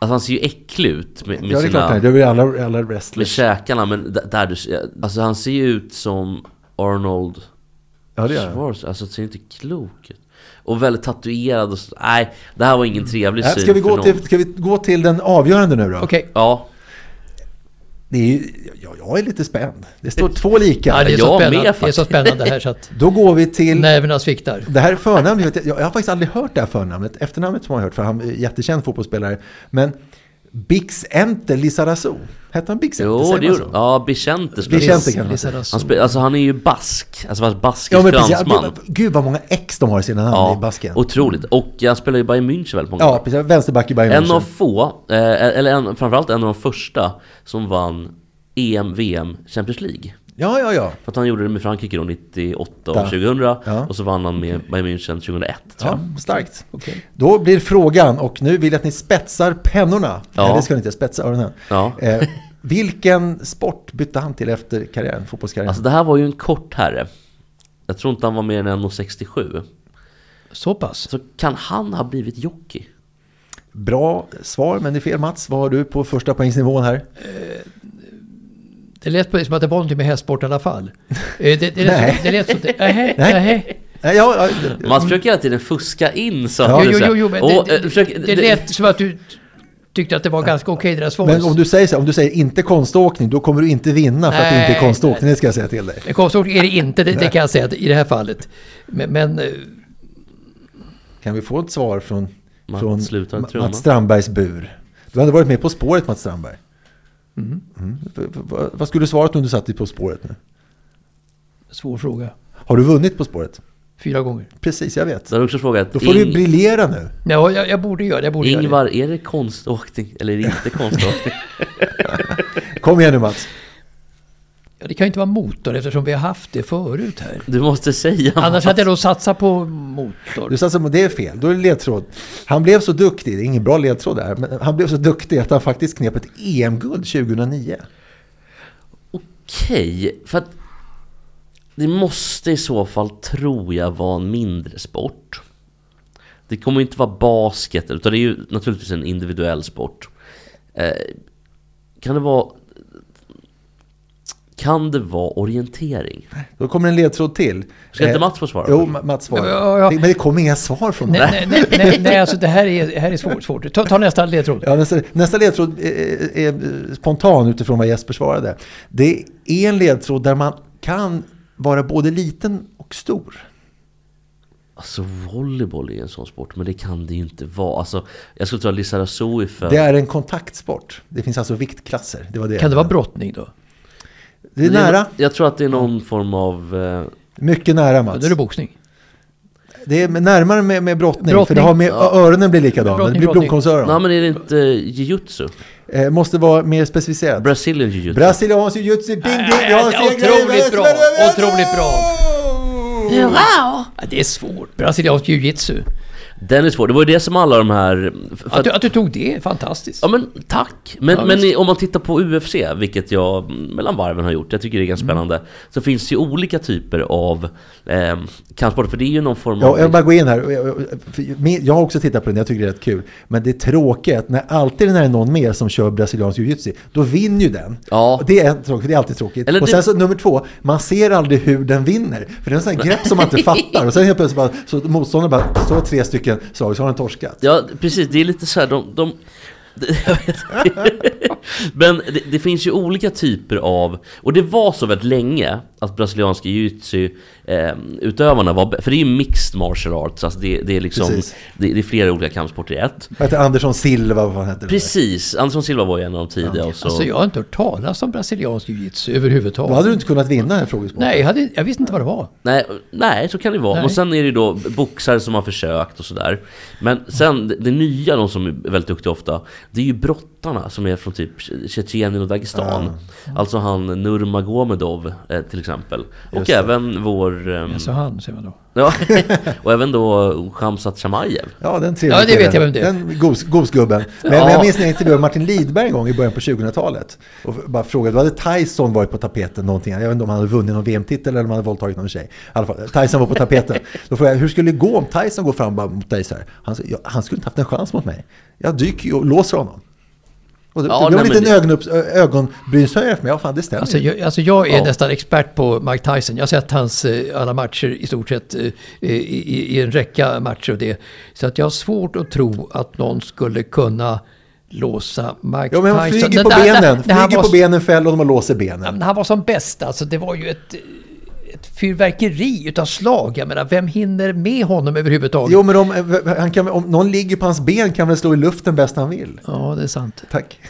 Speaker 1: Alltså han ser ju äcklig ut med, med
Speaker 2: ja, det är klart.
Speaker 1: sina...
Speaker 2: nej, Det är väl alla, alla
Speaker 1: Med
Speaker 2: wrestlers.
Speaker 1: käkarna, men d- där du... ser- Alltså han ser ju ut som Arnold
Speaker 2: Ja, det gör han.
Speaker 1: Schwarzenegger. Alltså det ser inte klok ut. Och väldigt tatuerad och så. Nej, det här var ingen trevlig
Speaker 2: Nej,
Speaker 1: syn
Speaker 2: Mm. Äh, Ska vi,
Speaker 1: för
Speaker 2: gå
Speaker 1: någon.
Speaker 2: till, ska vi gå till den avgörande nu då?
Speaker 3: Okej.
Speaker 1: Ja,
Speaker 2: Det är ju, jag, jag är lite spänd. Det står två lika.
Speaker 3: Ja, det, är
Speaker 1: jag med
Speaker 3: så spännande. det är så
Speaker 1: faktiskt.
Speaker 3: spännande här så att
Speaker 2: Då går vi till...
Speaker 3: nerverna sviktar.
Speaker 2: Det här förnamnet, vet jag, jag har faktiskt aldrig hört det här förnamnet. Efternamnet som jag har hört, för han är en jättekänd fotbollsspelare. Men Bix Enter Lizarazu. Hette han Bix Enter?
Speaker 1: jo det
Speaker 2: Säger man
Speaker 1: gjorde
Speaker 2: så?
Speaker 1: Ja, Bichente spelar.
Speaker 2: Vicente
Speaker 3: Liz-
Speaker 2: kanske man säger.
Speaker 3: Lizarazu.
Speaker 1: Han spel, alltså han är ju bask, alltså fast baskisk
Speaker 2: Ja, men precis.
Speaker 1: fransman.
Speaker 2: Ja, Gud vad många X de har i sina namn i basken.
Speaker 1: otroligt. Och han spelar ju Bayern München väldigt många
Speaker 2: Ja,
Speaker 1: år.
Speaker 2: precis. Vänsterback i Bayern
Speaker 1: En
Speaker 2: München.
Speaker 1: av få, eh, eller en, framförallt en av de första som vann EM, VM, Champions League.
Speaker 2: Ja, ja, ja.
Speaker 1: För att han gjorde det med Frankrike då 98 och
Speaker 2: Ja.
Speaker 1: 2000
Speaker 2: Ja.
Speaker 1: och så vann han med Bayern München 2001.
Speaker 2: Ja, starkt. Då blir frågan, och nu vill jag att ni spetsar pennorna.
Speaker 1: Ja.
Speaker 2: Nej, det ska ni inte. Spetsa öronen.
Speaker 1: Ja.
Speaker 2: Eh, vilken sport bytte han till efter karriären, fotbollskarriären?
Speaker 1: Alltså det här var ju en kort herre. Jag tror inte han var mer än 1,67.
Speaker 3: Så pass.
Speaker 1: Så kan han ha blivit jockey?
Speaker 2: Bra svar, men det är fel Mats. Vad har du på första poängsnivån här?
Speaker 3: Det lät på det som att det var någonting med hästsport i alla fall. Eh, Det, det, det, lät,
Speaker 2: Nej.
Speaker 3: så- det lät så... Nej.
Speaker 2: Nej.
Speaker 3: Nej.
Speaker 2: Nej, Ja, ja,
Speaker 1: Man försöker hela tiden fuska in så att
Speaker 3: Jo,
Speaker 1: det är så
Speaker 3: jo,
Speaker 1: här-
Speaker 3: jo, jo, men
Speaker 1: Åh,
Speaker 3: det,
Speaker 1: eh, försök-
Speaker 3: det, det
Speaker 1: det-
Speaker 3: lät som att du tyckte att det var ganska okej deras
Speaker 2: men om
Speaker 3: svar.
Speaker 2: du, säger, så här, om du säger inte konståkning, då kommer du inte vinna för att det inte är
Speaker 3: Nej,
Speaker 2: konståkning. Det ska jag säga till dig.
Speaker 3: Konståkning är det inte, det, det kan jag säga att- i det här fallet. Men, men eh,
Speaker 2: Kan vi få ett svar från,
Speaker 1: Mats
Speaker 2: från
Speaker 1: slutar
Speaker 2: Ma-
Speaker 1: trumma.
Speaker 2: Mats Strandbergs bur? Du hade varit med På spåret, Mats Strandberg. Mm. V- v- Vad skulle du svarat om du satt i På spåret nu?
Speaker 3: svår fråga.
Speaker 2: Har du vunnit På spåret?
Speaker 3: Fyra gånger.
Speaker 2: Precis, jag vet.
Speaker 1: Då har du också frågat,
Speaker 2: Då får du
Speaker 1: Ing-
Speaker 2: briljera nu.
Speaker 3: Ja, jag, jag borde göra det. Jag borde göra det.
Speaker 1: Ingvar, är det konståkning eller är det inte konståkning?
Speaker 2: Kom igen nu Mats.
Speaker 3: Ja, det kan ju inte vara motor eftersom vi har haft det förut här.
Speaker 1: Du måste säga
Speaker 3: Annars
Speaker 1: Mats.
Speaker 3: hade jag då satsat på motor.
Speaker 2: Du sa som det är fel, då är det ledtråd. Han blev så duktig, det är ingen bra ledtråd där, men han blev så duktig att han faktiskt knep ett EM-guld 2009.
Speaker 1: Okej, för att det måste i så fall, tror jag, vara en mindre sport. Det kommer ju inte vara basket, utan det är ju naturligtvis en individuell sport. Eh, kan det vara... Kan det vara orientering?
Speaker 2: Då kommer en ledtråd till.
Speaker 1: Ska inte
Speaker 2: Eh,
Speaker 1: Mats få svara
Speaker 2: Jo,
Speaker 1: först?
Speaker 2: Ma- Mats svarar.
Speaker 3: Ja, ja.
Speaker 2: Men det kommer inga svar från honom.
Speaker 3: Nej, nej, nej, nej, nej alltså det här är, det här är svårt. svårt. Ta, ta nästa ledtråd.
Speaker 2: Ja, nästa, nästa ledtråd är, är- är spontan utifrån vad Jesper svarade. Det är en ledtråd där man kan vara både liten och stor.
Speaker 1: Alltså volleyboll är ju en sån sport, men det kan det ju inte vara. Alltså, jag skulle tro att Lizarazu är för...
Speaker 2: Det är en kontaktsport. Det finns alltså viktklasser. Det var det.
Speaker 3: Kan det vara brottning då?
Speaker 2: Det är nära.
Speaker 1: Jag tror att det är någon form av... Eh,
Speaker 2: Mycket nära
Speaker 3: Ja,
Speaker 2: Mats.
Speaker 3: då är det boxning.
Speaker 2: Det är närmare med, med brottning, för
Speaker 3: Brottning.
Speaker 2: det har med, öronen blir likadana.
Speaker 3: Brottning,
Speaker 2: det blir
Speaker 3: brottning.
Speaker 2: blomkålsöron.
Speaker 1: nej men är det inte jujutsu?
Speaker 2: Eh, måste vara mer specificerat.
Speaker 1: Brazilian jujutsu?
Speaker 2: Brasiliansk jujutsu, ding ding,
Speaker 3: Nej,
Speaker 2: jag har
Speaker 3: det är
Speaker 2: segrat i
Speaker 3: Äh, otroligt bra,
Speaker 2: världsvärlden!
Speaker 3: otroligt Ja, det är svårt. Brasiliansk jiu-jitsu.
Speaker 1: Den är svår, det var ju det som alla de här... För
Speaker 3: Att
Speaker 1: att,
Speaker 3: du, att du tog det är fantastiskt.
Speaker 1: ja men tack! Men,
Speaker 3: Ja,
Speaker 1: men
Speaker 3: visst.
Speaker 1: i- om man tittar på UFC, vilket jag mm, mellan varven har gjort, jag tycker det är ganska
Speaker 2: Mm.
Speaker 1: spännande. Så finns det ju olika typer av eh, kampsporter, för det är ju någon form
Speaker 2: Ja,
Speaker 1: av...
Speaker 2: jag vill bara gå in här. Jag- jag- för min- Jag har också tittat på den, jag tycker det är rätt kul. Men det tråkiga är att när alltid när det är någon mer som kör brasiliansk jiu-jitsu, då vinner ju den.
Speaker 1: Ja.
Speaker 2: Och Det, är tråkigt, det är alltid tråkigt.
Speaker 1: Eller
Speaker 2: och
Speaker 1: det-
Speaker 2: sen så nummer två, man ser aldrig hur den vinner. För det är en sån här grepp som man inte fattar. Och sen helt plötsligt bara, så motståndaren bara, så tre stycken slag, så har den torskat.
Speaker 1: Ja, precis. Det är lite så här, de... de det- jag vet inte. Men det, det finns ju olika typer av... Och det var så väldigt länge att brasilianska jiu-jitsu-utövarna var... För det är ju mixed martial arts, alltså det, det är liksom...
Speaker 2: Precis.
Speaker 1: Det, det är flera olika kampsporter i ett.
Speaker 2: Vad heter Andersson Silva, vad fan heter det?
Speaker 1: Precis, Andersson Silva var ju en av de tidiga och så...
Speaker 3: Alltså jag har inte hört talas om brasiliansk jiu-jitsu överhuvudtaget.
Speaker 2: Då hade du inte kunnat vinna den här frågesporten.
Speaker 3: Nej, jag, hade, jag visste inte vad det var.
Speaker 1: Nej, nej, så kan det vara.
Speaker 3: Nej.
Speaker 1: Och sen är det ju då boxare som har försökt och sådär. Men sen det, det nya, de som är väldigt duktiga ofta, det är ju brottarna som är från typ Tje- Tjetjenien och Dagestan. Alltså han Nurmagomedov eh, till exempel. Och
Speaker 2: det.
Speaker 1: även vår... ehm,
Speaker 3: Så han, säger man då.
Speaker 1: ja, och även då Khamzat Shamayev.
Speaker 2: Ja, den trevliga
Speaker 3: Ja, det
Speaker 2: killen.
Speaker 3: vet jag vem det är.
Speaker 2: Den gos, gosgubben. Men,
Speaker 1: Ja.
Speaker 2: men jag minns när jag intervjuade Martin Lidberg en gång i början på 2000-talet. Och bara frågade, då hade Tyson varit på tapeten någonting. Jag vet inte om han hade vunnit någon VM-titel eller om han hade våldtagit någon tjej. I alla fall, Tyson var på tapeten. Då frågade jag, hur skulle det gå om Tyson går fram bara mot dig så här? Han, sa, "Ja, han skulle inte haft en chans mot mig. Jag dyker ju och låser honom. Och det,
Speaker 1: Ja,
Speaker 2: det var
Speaker 1: nej,
Speaker 2: en liten
Speaker 1: men-
Speaker 2: ögonupp- ö- ögonbrynshöjare för mig. Ja, fan, det stämmer.
Speaker 3: Alltså
Speaker 2: ju.
Speaker 3: jag, alltså jag är
Speaker 1: Ja.
Speaker 3: nästan expert på Mike Tyson. Jag har sett hans eh, alla matcher i stort sett eh, i, i, i en räcka matcher och det. Så att jag har svårt att tro att någon skulle kunna låsa Mike
Speaker 2: Ja, men han
Speaker 3: Tyson.
Speaker 2: flyger
Speaker 3: Den
Speaker 2: på
Speaker 3: där-
Speaker 2: benen.
Speaker 3: när han
Speaker 2: Flyger
Speaker 3: var
Speaker 2: på
Speaker 3: s-
Speaker 2: benen, fäller honom och låser benen.
Speaker 3: När han var som bäst, alltså det var ju ett, ett fyrverkeri utav slag. Jag menar, vem hinner med honom överhuvudtaget?
Speaker 2: Jo, men om, eh, han kan, om någon ligger på hans ben kan väl slå i luften bäst han vill.
Speaker 3: Ja, det är sant.
Speaker 2: Tack.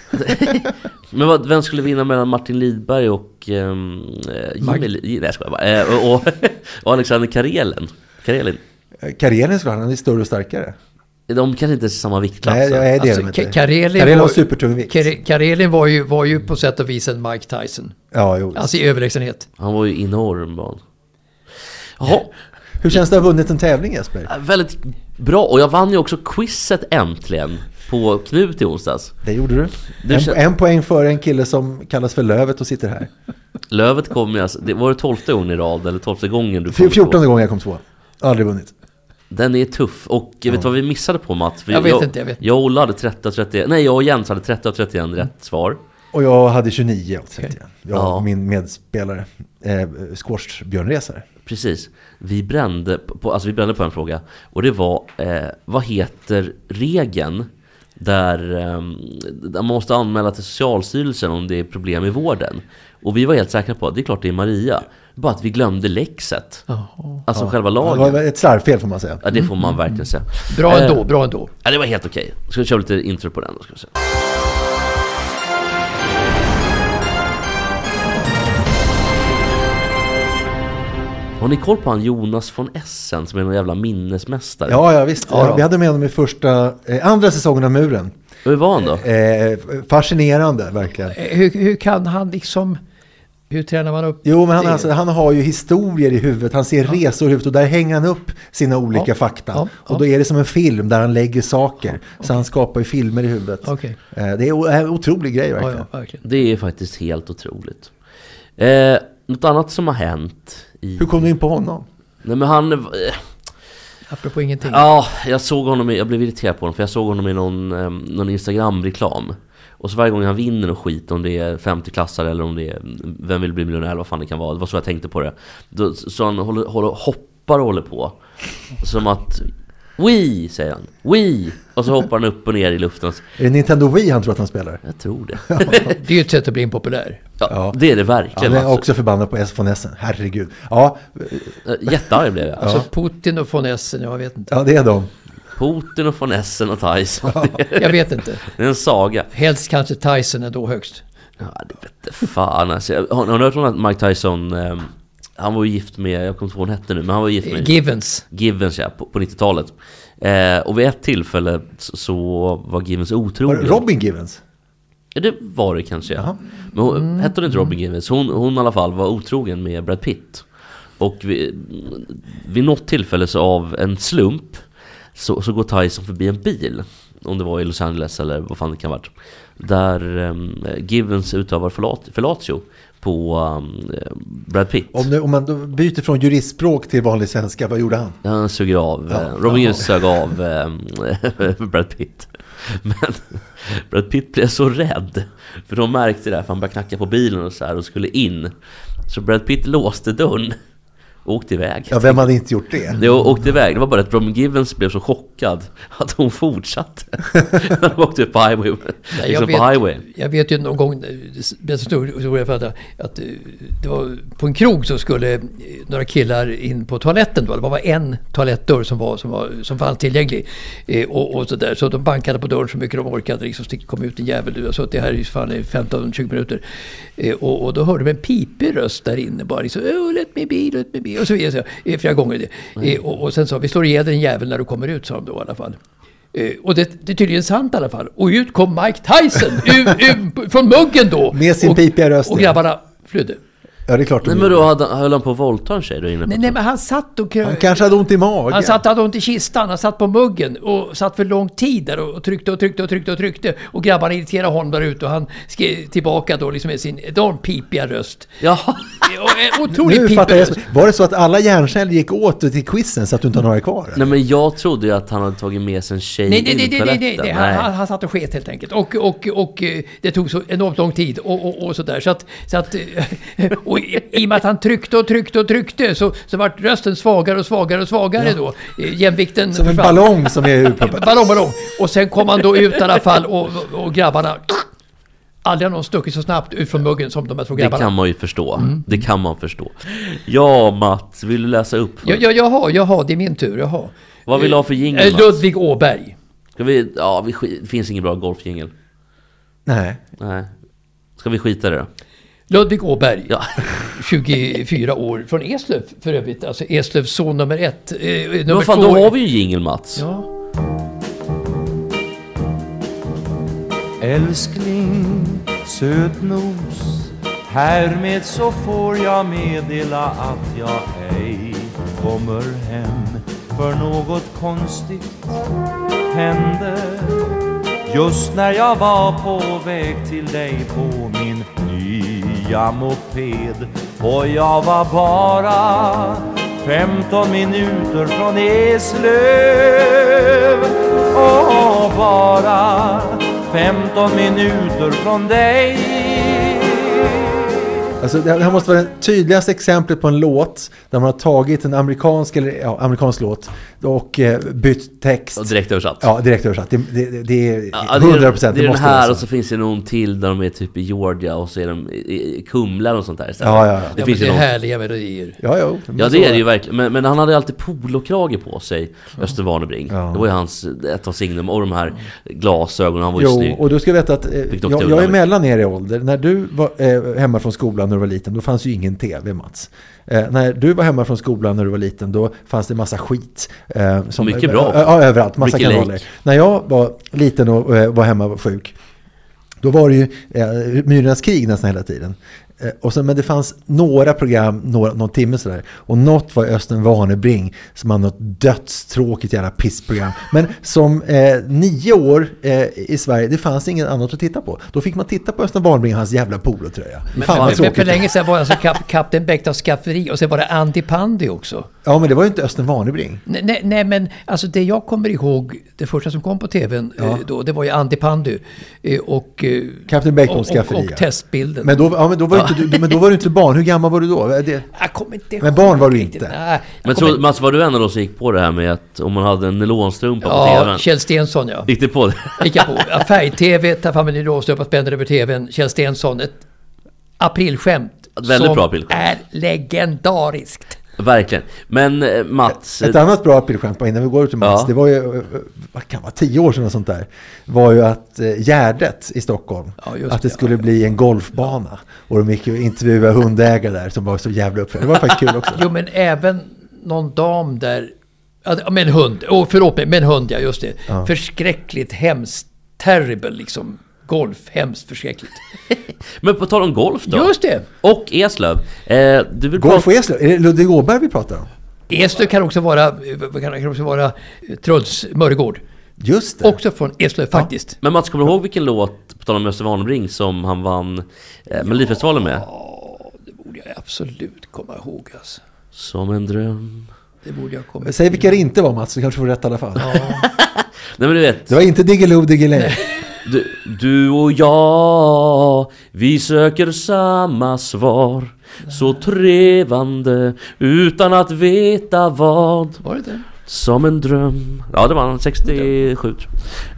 Speaker 1: Men vad, vem skulle vinna mellan Martin Lidberg och... ehm, Eh, Jimmy,
Speaker 3: Mag-
Speaker 1: Li- nej jag skojar bara. Eh, och, och, och Alexander Karelen. Karelin.
Speaker 2: Karelen Eh, skulle han, han är större och starkare.
Speaker 1: De kanske inte är i samma viktklass.
Speaker 2: Nej, nej, det är
Speaker 3: Alltså,
Speaker 2: de
Speaker 3: Ka-
Speaker 2: inte.
Speaker 3: Karelin
Speaker 2: Karelen
Speaker 3: var-
Speaker 2: har supertung vikt.
Speaker 3: Kare- Karelin var ju, var ju på sätt och vis en Mike Tyson.
Speaker 2: Ja, jo.
Speaker 3: Alltså i överlägsenhet.
Speaker 1: Han var ju enorm barn. Jaha, äh,
Speaker 2: Hur känns det att ha vunnit en tävling Jesper?
Speaker 1: väldigt bra. Och jag vann ju också quizet äntligen på Knut i onsdags.
Speaker 2: Det gjorde du.
Speaker 1: Du
Speaker 2: en,
Speaker 1: kän-
Speaker 2: en poäng före en kille som kallas för Lövet och sitter här.
Speaker 1: Lövet kom ju alltså, det var det tolfte gången i rad eller tolfte gången du
Speaker 2: Fj-
Speaker 1: kom på.
Speaker 2: Fjortonde gången jag kom två. Aldrig vunnit.
Speaker 1: Den är tuff och vet du vad vi missade på Mats? Vi-
Speaker 3: Jag vet inte, jag vet.
Speaker 1: Jag och Ola hade 30 av 31, nej jag och Jens hade 30 av 31 rätt svar.
Speaker 2: Och jag hade 29 av 30. Jag
Speaker 1: Ja.
Speaker 2: och min medspelare, eh, squash Björn Resare.
Speaker 1: Precis. Vi brände på, alltså vi brände på en fråga och det var eh, vad heter regeln där, ehm, där man måste anmäla till Socialstyrelsen om det är problem i vården? Och vi var helt säkra på att det är klart det är Maria. Bara att vi glömde läxet. Alltså själva
Speaker 2: Det var
Speaker 1: lagen.
Speaker 2: ett slarvfel får man säga.
Speaker 1: Ja, det får man verkligen säga.
Speaker 3: Bra
Speaker 1: Eh,
Speaker 3: ändå, bra ändå.
Speaker 1: Ja, det var helt okej. Ska vi köra lite intro på den då ska vi se. Har ni koll på han Jonas von Essen som är någon jävla minnesmästare?
Speaker 2: Ja, ja visst.
Speaker 3: Ja, då.
Speaker 2: vi hade med honom i första, eh, andra säsongen av Muren.
Speaker 1: Hur var han då?
Speaker 2: Eh, fascinerande verkligen.
Speaker 3: Eh, Hur, hur kan han liksom... Hur tränar man upp?
Speaker 2: Jo, men han,
Speaker 3: det?
Speaker 2: alltså, han har ju historier i huvudet. Han ser resor i huvudet och där hänger han upp sina olika
Speaker 3: Ja,
Speaker 2: fakta.
Speaker 3: ja,
Speaker 2: Och då är det som en film där han lägger saker. Så han skapar ju filmer i huvudet.
Speaker 3: Okej.
Speaker 2: Eh, Det är o- en otrolig grej
Speaker 3: Ja,
Speaker 2: verkligen.
Speaker 3: ja, verkligen.
Speaker 1: Det är faktiskt helt otroligt. Eh, något annat som har hänt i...
Speaker 2: Hur kom du in på honom?
Speaker 1: Nej men han... eh,
Speaker 3: Apropå ingenting.
Speaker 1: Ja, jag såg honom i, Jag blev irriterad på honom för jag såg honom i någon, eh, någon Instagram-reklam. Och så varje gång han vinner någon skit, om det är 50-klassare eller om det är Vem vill bli miljonär, vad fan det kan vara. Det var så jag tänkte på det. Då, så han håller, håller, hoppar och håller på. Som att... Wii, säger han. Wii! Och så hoppar han upp och ner i luften.
Speaker 2: Är det Nintendo Wii han tror att han spelar?
Speaker 1: Jag tror det.
Speaker 3: Det är ju ett sätt att bli impopulär.
Speaker 1: Ja, Det är det verkligen.
Speaker 2: Han är
Speaker 1: alltså.
Speaker 2: också förbannad på S von Essen. Herregud. Ja,
Speaker 1: Eh, Jättearg blev jag.
Speaker 3: Alltså Putin och von Essen, jag vet inte.
Speaker 2: ja det är de.
Speaker 1: Putin och von Essen och Tyson. Det,
Speaker 3: Jag vet inte.
Speaker 1: det är en saga.
Speaker 3: Helst kanske Tyson ändå högst.
Speaker 1: Ja, det vete fan alltså. Jag- Har, har ni hört om att Mike Tyson, ehm, han var ju gift med, jag kommer inte ihåg vad hon hette nu, men han var gift med
Speaker 3: Givens.
Speaker 1: Givens ja, på, på 90-talet. Eh, och vid ett tillfälle så, så var Givens
Speaker 2: Var
Speaker 1: otrogen.
Speaker 2: det Robin Givens?
Speaker 1: Ja, det var det kanske ja. Men hon, hette hon inte Robin Givens? Hon, hon i alla fall var otrogen med Brad Pitt. Och vid, vid något tillfälle så av en slump så, så går Tyson förbi en bil. Om det var i Los Angeles eller vad fan det kan ha varit. Där um, Givens utövar fellat- fellatio på ehm, Brad Pitt.
Speaker 2: Om, nu, om man då byter från juristspråk till vanlig svenska, vad gjorde han?
Speaker 1: Han suger av, eh, Robin Givens sög av eh, Brad Pitt. Men Brad Pitt blev så rädd. För de märkte det här, för han började knacka på bilen och så här och skulle in. Så Brad Pitt låste dörren. och åkte iväg.
Speaker 2: Ja, vem hade inte gjort det?
Speaker 1: Det å- åkte iväg. Det var bara att Brom Givens blev så chockad att hon fortsatte. När de åkte på highway.
Speaker 3: Nej,
Speaker 1: liksom på highway.
Speaker 3: jag vet ju någon gång, eh, det stod historia för att, att eh, det var på en krog så skulle eh, några killar in på toaletten. Då. Det var bara en toalettdörr som, var, som, var, som fanns tillgänglig. Eh, och, och så, där. så de bankade på dörren så mycket de orkade. Liksom, så kom ut en jävel. Du har suttit här i fan i 15-20 minuter. Eh, och, och då hörde de en pipig röst där inne bara. Liksom, oh, let me be, let me be. Och så vidare. Så, eh, flera gånger. Eh, och, och sen sa vi slår ihjäl den jävel när du kommer ut, sa de då i alla fall. Eh, Och det, det är tydligen sant i alla fall. Och ut kom Mike Tyson ur, ur, från muggen då.
Speaker 2: Med sin
Speaker 3: och,
Speaker 2: pipiga röst,
Speaker 3: Och
Speaker 2: ja.
Speaker 3: grabbarna flydde.
Speaker 2: Ja, det är klart. de
Speaker 1: Nej men
Speaker 2: gjorde.
Speaker 1: då hade, höll han på att våldta en tjej då inne på
Speaker 3: Nej, nej men han satt och krö...
Speaker 2: Han kanske hade ont i magen.
Speaker 3: Han satt, hade ont i kistan, han satt på muggen och satt för lång tid där och tryckte och tryckte och tryckte och tryckte. Och grabbarna irriterade honom där ute och han skrev tillbaka då liksom med sin enormt pipiga röst.
Speaker 1: Ja,
Speaker 3: Eh, och, eh, Otroligt
Speaker 2: nu
Speaker 3: pipig
Speaker 2: fattar jag.
Speaker 3: röst.
Speaker 2: Var det så att alla hjärnceller gick åt till quizen så att du inte har några kvar?
Speaker 1: nej men jag trodde ju att han hade tagit med sig en tjej
Speaker 3: Nej, nej,
Speaker 1: in
Speaker 3: nej,
Speaker 1: i
Speaker 3: nej, nej,
Speaker 1: toaletten.
Speaker 3: nej. nej. Han, han, han satt och sket helt enkelt. Och, och, och eh, det tog så enormt lång tid och, och, och sådär. Så att, så att, eh, och i, I och med att han tryckte och tryckte och tryckte så, så vart rösten svagare och svagare och svagare då. Eh, Jämvikten
Speaker 2: Som en
Speaker 3: försvann.
Speaker 2: ballong som är urproppad.
Speaker 3: Ballong, ballong. Och sen kom han då ut i alla fall och, och, och grabbarna... Aldrig har någon stuckit så snabbt ut från muggen som de här två
Speaker 1: Det kan
Speaker 3: grabbarna.
Speaker 1: man ju förstå. Det kan man förstå. Ja, Mats, vill du läsa upp?
Speaker 3: Ja, ja, jaha, jaha, det är min tur. Jaha.
Speaker 1: Vad vill du ha för jingel,
Speaker 3: Eh,
Speaker 1: Mats?
Speaker 3: Ludvig Åberg.
Speaker 1: Ska vi... Ja, vi skit, det finns ingen bra golfjingel.
Speaker 2: Nej.
Speaker 1: Nej. Ska vi skita i det då?
Speaker 3: Ludvig Åberg.
Speaker 1: Ja.
Speaker 3: 24 år, från Eslöv för övrigt. Alltså Eslövs son nummer ett. Eh, nummer
Speaker 1: Men fan,
Speaker 3: två.
Speaker 1: då har vi ju en jingel, Mats.
Speaker 3: Ja.
Speaker 4: Älskling, sötnos Härmed så får jag meddela att jag ej kommer hem För något konstigt hände Just när jag var på väg till dig på min nya moped Och jag var bara 15 minuter från Eslöv Och bara 15 minuter från dig
Speaker 2: Alltså, det här måste vara det tydligaste exemplet på en låt där man har tagit en amerikansk, eller, ja, amerikansk låt och eh, bytt text.
Speaker 1: Och direkt översatt.
Speaker 2: Ja, direkt översatt. Det, det, det är
Speaker 1: Ja,
Speaker 2: 100
Speaker 1: det är,
Speaker 2: procent.
Speaker 1: det är den
Speaker 2: måste
Speaker 1: här
Speaker 2: vara
Speaker 1: och
Speaker 2: så.
Speaker 1: så finns det någon till där de är typ i Georgia och så är de i, i Kumla och sånt där istället.
Speaker 2: Ja, ja, ja.
Speaker 1: Det
Speaker 3: Det, ja,
Speaker 1: finns
Speaker 3: men
Speaker 1: ju
Speaker 3: det är
Speaker 1: någon.
Speaker 3: härliga melodier.
Speaker 2: Ja, jo, men
Speaker 1: Ja
Speaker 2: så
Speaker 1: det är
Speaker 2: var
Speaker 1: det ju verkligen, men, men han hade alltid polokrage på sig Östervarnebring
Speaker 2: Ja.
Speaker 1: Det var ju hans, ett av signum, och de här glasögonen, han var ju
Speaker 2: Jo,
Speaker 1: snygg
Speaker 2: och du ska veta att eh,
Speaker 1: de
Speaker 2: jag,
Speaker 1: till
Speaker 2: jag är
Speaker 1: Ulla-Maj.
Speaker 2: mellan er i ålder. När du var eh, hemma från skolan när du var liten, då fanns ju ingen tv, Mats. Eh, när du var hemma från skolan när du var liten, då fanns det massa skit. Eh, som,
Speaker 1: Mycket bra.
Speaker 2: Eh, ja, överallt. Massa
Speaker 1: Mycket
Speaker 2: kanaler.
Speaker 1: lik.
Speaker 2: När jag var liten och eh, var hemma och var sjuk, då var det ju eh, Myrornas krig nästan hela tiden. Eh, och sen, men det fanns några program, några, någon timme sådär. Och något var Östen Warnerbring som hade något dödstråkigt jävla pissprogram. Men som eh, nio år eh, i Sverige, det fanns inget annat att titta på. Då fick man titta på Östen Warnerbring och hans jävla polotröja. Fan vad
Speaker 3: Men, men för
Speaker 2: tråkigt.
Speaker 3: länge sedan var jag alltså kap, Kapten Bäckdahls skafferi och sen var det Antti Pandi också.
Speaker 2: Ja, men det var ju inte Östen Warnerbring.
Speaker 3: Nej, nej, nej men alltså det jag kommer ihåg, det första som kom på tvn eh, då, det var ju Antti Pandy eh, och... eh,
Speaker 2: Kapten Bäckdahls
Speaker 3: och- och-
Speaker 2: skafferi,
Speaker 3: Och,
Speaker 2: ja.
Speaker 3: testbilden.
Speaker 2: Men då, ja, men, då var ju inte, du, men då var du inte barn. Hur gammal var du då? Det,
Speaker 3: jag kommer inte
Speaker 2: Men barn var du
Speaker 3: riktigt.
Speaker 2: inte.
Speaker 3: Nej,
Speaker 1: Men
Speaker 3: jag
Speaker 1: tro,
Speaker 3: kommer-
Speaker 1: Mats var du en av de som gick på det här med att om man hade en nylonstrumpa på
Speaker 3: Ja,
Speaker 1: TVn?
Speaker 3: Kjell Stensson ja.
Speaker 1: Gick du på det?
Speaker 3: gick jag på. Ja, Färg-TV, ta fram en ny råstöpa, spänner över TVn. Kjell Stensson, ett aprilskämt.
Speaker 1: Ett väldigt
Speaker 3: som
Speaker 1: bra aprilskämt.
Speaker 3: är legendariskt.
Speaker 1: Verkligen Men eh, Mats,
Speaker 2: Ett annat bra aprilskämt, bara innan vi går ut till Mats,
Speaker 1: Ja.
Speaker 2: det var ju, eh, vad kan det vara, tio år sedan och sånt där, var ju att eh, Gärdet i Stockholm,
Speaker 3: Ja, just
Speaker 2: att det
Speaker 3: det,
Speaker 2: skulle bli en golfbana. Och de gick ju och intervjuade hundägare där som var så jävla uppförda. Det var faktiskt kul också.
Speaker 3: Jo, men även någon dam där... ja, Med en hund. Oh, förlåt mig, med en hund, ja just det. Förskräckligt, hemskt, terrible liksom. Golf, hemskt förskräckligt.
Speaker 1: men på tal om golf då?
Speaker 3: Just det!
Speaker 1: Och Eslöv, eh, du vill
Speaker 2: Golf
Speaker 1: prata-
Speaker 2: och Eslöv, är det Ludvig Åberg vi pratar om?
Speaker 3: Eslöv kan också vara, eh, vad kan, kan också vara eh, Truls Mörgård.
Speaker 2: Just det.
Speaker 3: Också från Eslöv faktiskt.
Speaker 1: Men Mats, kommer du ihåg vilken låt, på tal om Öster Warnerbring, som han vann eh, Melodifestivalen med?
Speaker 3: Det borde jag absolut komma ihåg alltså.
Speaker 1: Som en dröm
Speaker 3: Det borde jag komma ihåg.
Speaker 2: Säg vilka det inte var Mats, så kanske får du rätt i alla fall.
Speaker 1: Nej men du vet,
Speaker 2: Det var inte Diggiloo Diggiley.
Speaker 1: Du, du och jag, vi söker samma svar Så trevande utan att veta vad
Speaker 3: Var det det?
Speaker 1: Som en dröm Ja det var han, 67 tror jag.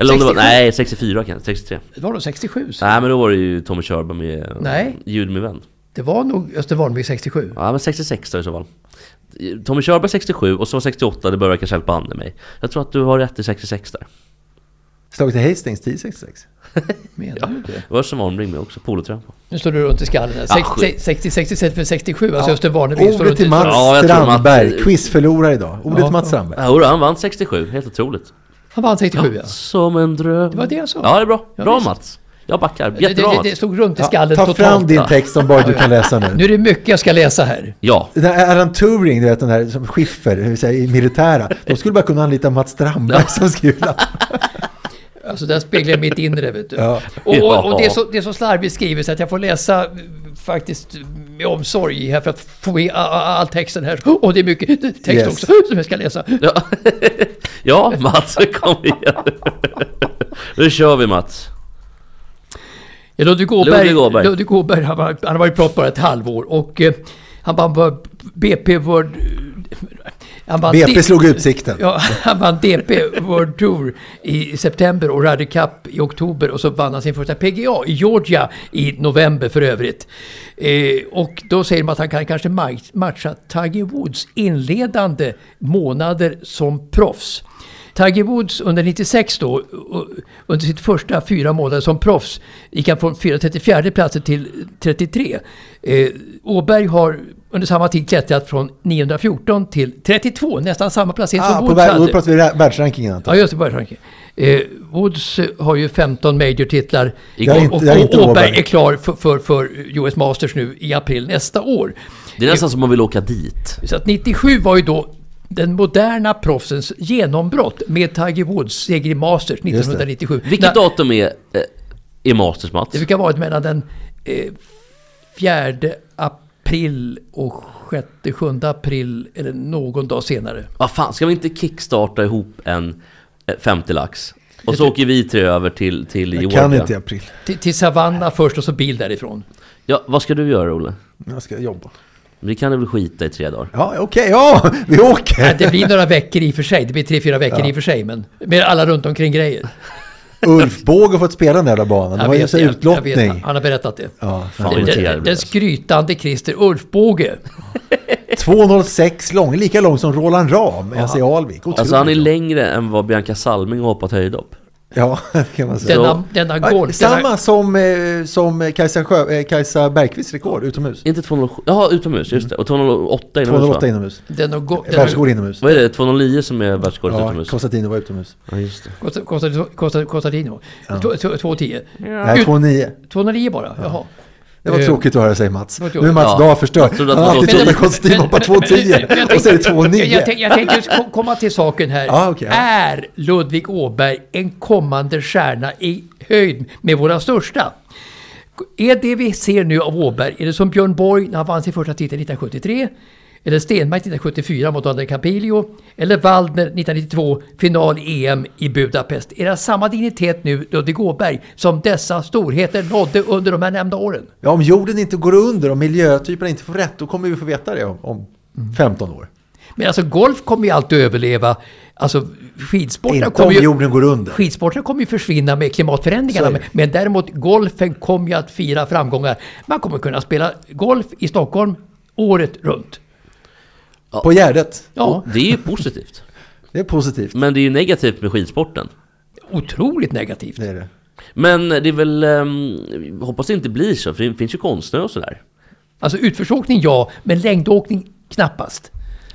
Speaker 1: Eller om det var,
Speaker 3: 67?
Speaker 1: nej 64 kanske, 63
Speaker 3: Det var nog 67? Så.
Speaker 1: Nej men då var det ju Tommy Körberg med
Speaker 3: Nej.
Speaker 1: Ljud med vän
Speaker 3: Det var nog Öster Warnby 67.
Speaker 1: Ja men 66 då i så fall Tommy Körberg 67 och så var 68, det börjar kanske hjälpa handen mig Jag tror att du har rätt i 66 där
Speaker 2: Slaget i Hastings 1066.
Speaker 3: Menar du det?
Speaker 1: Det var som Arnbring med också, polotröjan på
Speaker 3: Nu står du runt i skallen. här.
Speaker 1: Ja,
Speaker 3: 60, 60, 67 för 67. Alltså Öster Warnby står
Speaker 2: Ah, Ordet
Speaker 3: runt i
Speaker 2: till Mats
Speaker 1: Ja, jag tror Mats-
Speaker 2: Strandberg, quizförlorare idag. Ordet till Mats Strandberg.
Speaker 1: Ja, hurra, han vann 67, helt otroligt
Speaker 3: Han vann 67 ja.
Speaker 1: Som en dröm
Speaker 3: Det var det jag sa.
Speaker 1: Ja det är bra,
Speaker 3: Ja,
Speaker 1: bra
Speaker 3: visst.
Speaker 1: Mats Jag backar,
Speaker 3: Det,
Speaker 1: jättebra
Speaker 3: det, det
Speaker 1: Mats
Speaker 3: stod runt i
Speaker 2: Ja,
Speaker 3: skallen
Speaker 2: ta fram
Speaker 3: totalt.
Speaker 2: din text som bara du kan läsa
Speaker 3: Nu
Speaker 2: nu.
Speaker 3: är det mycket jag ska läsa här.
Speaker 1: Ja,
Speaker 2: Den här Alan Turing, du vet den där som skiffer, det vill säga i militära. De skulle bara kunna anlita Mats Strandberg som skula.
Speaker 3: Alltså den speglar mitt inre vet du.
Speaker 2: Ja.
Speaker 3: Och,
Speaker 1: Ja.
Speaker 3: och, och det, är så, det är så slarvigt skrivet så att jag får läsa eh, faktiskt med omsorg här för att få med a- a- all texten här. Och det är mycket text
Speaker 2: Yes.
Speaker 3: också som jag ska läsa.
Speaker 1: Ja, ja Mats, kom igen. Nu kör vi Mats.
Speaker 3: Ja, Ludvig Åberg,
Speaker 1: Ludvig
Speaker 3: Ludvig
Speaker 1: Åberg.
Speaker 3: Åberg. han, var, han har varit proffs bara ett halvår och eh, han vann var BP World... Han vann
Speaker 2: BP
Speaker 3: D-
Speaker 2: slog utsikten.
Speaker 3: Ja, han vann DP World Tour i september och Ryder Cup i oktober och så vann han sin första PGA i Georgia i november för övrigt. Eh, och då säger man att han kan kanske ma- matcha Tiger Woods inledande månader som proffs. Tiger Woods under 96 då, och- under sitt första fyra månader som proffs, gick han från 4 34 platser till 33. Eh, Åberg har under samma tid klättrat från 914 till 32, nästan samma placering
Speaker 2: Ah,
Speaker 3: som
Speaker 2: på
Speaker 3: Woods
Speaker 2: vär- då
Speaker 3: hade.
Speaker 2: pratar vi ra- världsrankingen antar
Speaker 3: Ja, just det, bara tanke. Eh, Woods eh, har ju 15 major-titlar
Speaker 1: Det är
Speaker 3: och,
Speaker 2: inte-
Speaker 3: och,
Speaker 2: det är inte
Speaker 3: och Åberg
Speaker 2: Åberg.
Speaker 3: är klar för, för, för US Masters nu i april nästa år.
Speaker 1: Det är nästan som man vill åka dit.
Speaker 3: Så att 97 var ju då den moderna proffsens genombrott med Tiger Woods seger i Masters 1997.
Speaker 1: Vilket
Speaker 3: När-
Speaker 1: datum är, eh, är Masters Mats?
Speaker 3: Det brukar vara mellan den eh, 4 april och 6-7 april eller någon dag senare.
Speaker 1: Vad Ah, fan, ska vi inte kickstarta ihop en eh, 50 lax? Och så åker vi tre över till, till
Speaker 2: jag. Jag
Speaker 1: Georgia.
Speaker 2: kan inte i april.
Speaker 3: Till, till Savannah först och så bil därifrån.
Speaker 1: Ja, vad ska du göra Olle?
Speaker 2: Jag ska jobba.
Speaker 1: Vi kan väl skita i tre dagar?
Speaker 2: Ja, okej, ja, vi
Speaker 3: Nej,
Speaker 2: åker!
Speaker 3: Det blir några veckor i och för sig. Det blir tre, fyra veckor i och för sig. Men med alla runt omkring grejer.
Speaker 2: Ulf Båge har fått spela den där jävla banan. Det var ju så
Speaker 3: det, jag vet,
Speaker 2: utlottning.
Speaker 3: han har berättat det.
Speaker 2: Ja,
Speaker 1: Fan, vad
Speaker 3: Den-
Speaker 1: irriterad jag
Speaker 3: Den,
Speaker 1: blir,
Speaker 3: den
Speaker 1: alltså.
Speaker 3: skrytande Christer Ulfbåge.
Speaker 2: 2,06 lång, lika lång som Roland Ram, ens i Alvik.
Speaker 1: Alltså han är
Speaker 2: Otroligt.
Speaker 1: längre än vad Bianca Salming har hoppat höjdhopp.
Speaker 2: Ja, det kan man säga.
Speaker 3: Denna, denna
Speaker 2: Ja,
Speaker 3: golf...
Speaker 2: Samma
Speaker 3: Denna,
Speaker 2: som, eh, som Kajsa, Sjö, eh, Kajsa Bergqvists rekord utomhus.
Speaker 1: Inte 207, jaha utomhus, just det. Och 208 inomhus
Speaker 2: 208
Speaker 1: va?
Speaker 2: inomhus.
Speaker 3: denna, go- denna,
Speaker 2: Världsrekord inomhus.
Speaker 1: Vad är det, 209 som är världsrekordet
Speaker 2: Ja,
Speaker 1: utomhus?
Speaker 2: Konstantin var utomhus.
Speaker 1: Ja, just det.
Speaker 3: Costa- Costa- Costa- Costadino. Två- två- 210.
Speaker 2: Nej, 2,9.
Speaker 3: 209 bara, jaha.
Speaker 2: Det var
Speaker 3: Eh,
Speaker 2: tråkigt att höra sig Mats.
Speaker 3: det var
Speaker 2: Nu är Mats
Speaker 1: Ja.
Speaker 2: Dahl förstörd.
Speaker 1: Jag
Speaker 2: Han
Speaker 1: trodde att
Speaker 2: har
Speaker 1: det var
Speaker 2: alltid trott att
Speaker 1: 2,10.
Speaker 2: Konstantin hoppar 2,10 och så är det
Speaker 3: Jag,
Speaker 2: 2,9.
Speaker 3: tänk, jag tänkte just ko- komma till saken här.
Speaker 2: Ja, okej, ja.
Speaker 3: Är Ludvig Åberg en kommande stjärna i höjd med våra största? Är det vi ser nu av Åberg, är det som Björn Borg när han vann sin första titel 1973? Eller Stenmark 1974 mot Daniel Capilio? Eller Waldner 1992, final i EM i Budapest? Är det samma dignitet nu, Ludvig Åberg, som dessa storheter nådde under de här nämnda åren?
Speaker 2: Ja, om jorden inte går under, om miljötyperna inte får rätt, då kommer vi få veta det om, om
Speaker 3: Mm.
Speaker 2: 15 år.
Speaker 3: Men alltså golf kommer ju alltid överleva. Alltså skidsporten
Speaker 2: Inte
Speaker 3: kommer
Speaker 2: om
Speaker 3: ju...
Speaker 2: jorden går under.
Speaker 3: Skidsporten kommer ju försvinna med
Speaker 2: Så
Speaker 3: klimatförändringarna.
Speaker 2: är det.
Speaker 3: Men, men däremot golfen kommer ju att fira framgångar. Man kommer kunna spela golf i Stockholm året runt.
Speaker 2: På Gärdet.
Speaker 3: Ja,
Speaker 1: Det är ju positivt.
Speaker 2: Det är positivt.
Speaker 1: Men det är ju negativt med skidsporten.
Speaker 3: otroligt negativt.
Speaker 2: Det är det.
Speaker 1: Men det är väl, ehm, hoppas det inte blir så, för det finns ju konstnärer och sådär.
Speaker 3: Alltså utförsåkning ja, men längdåkning knappast.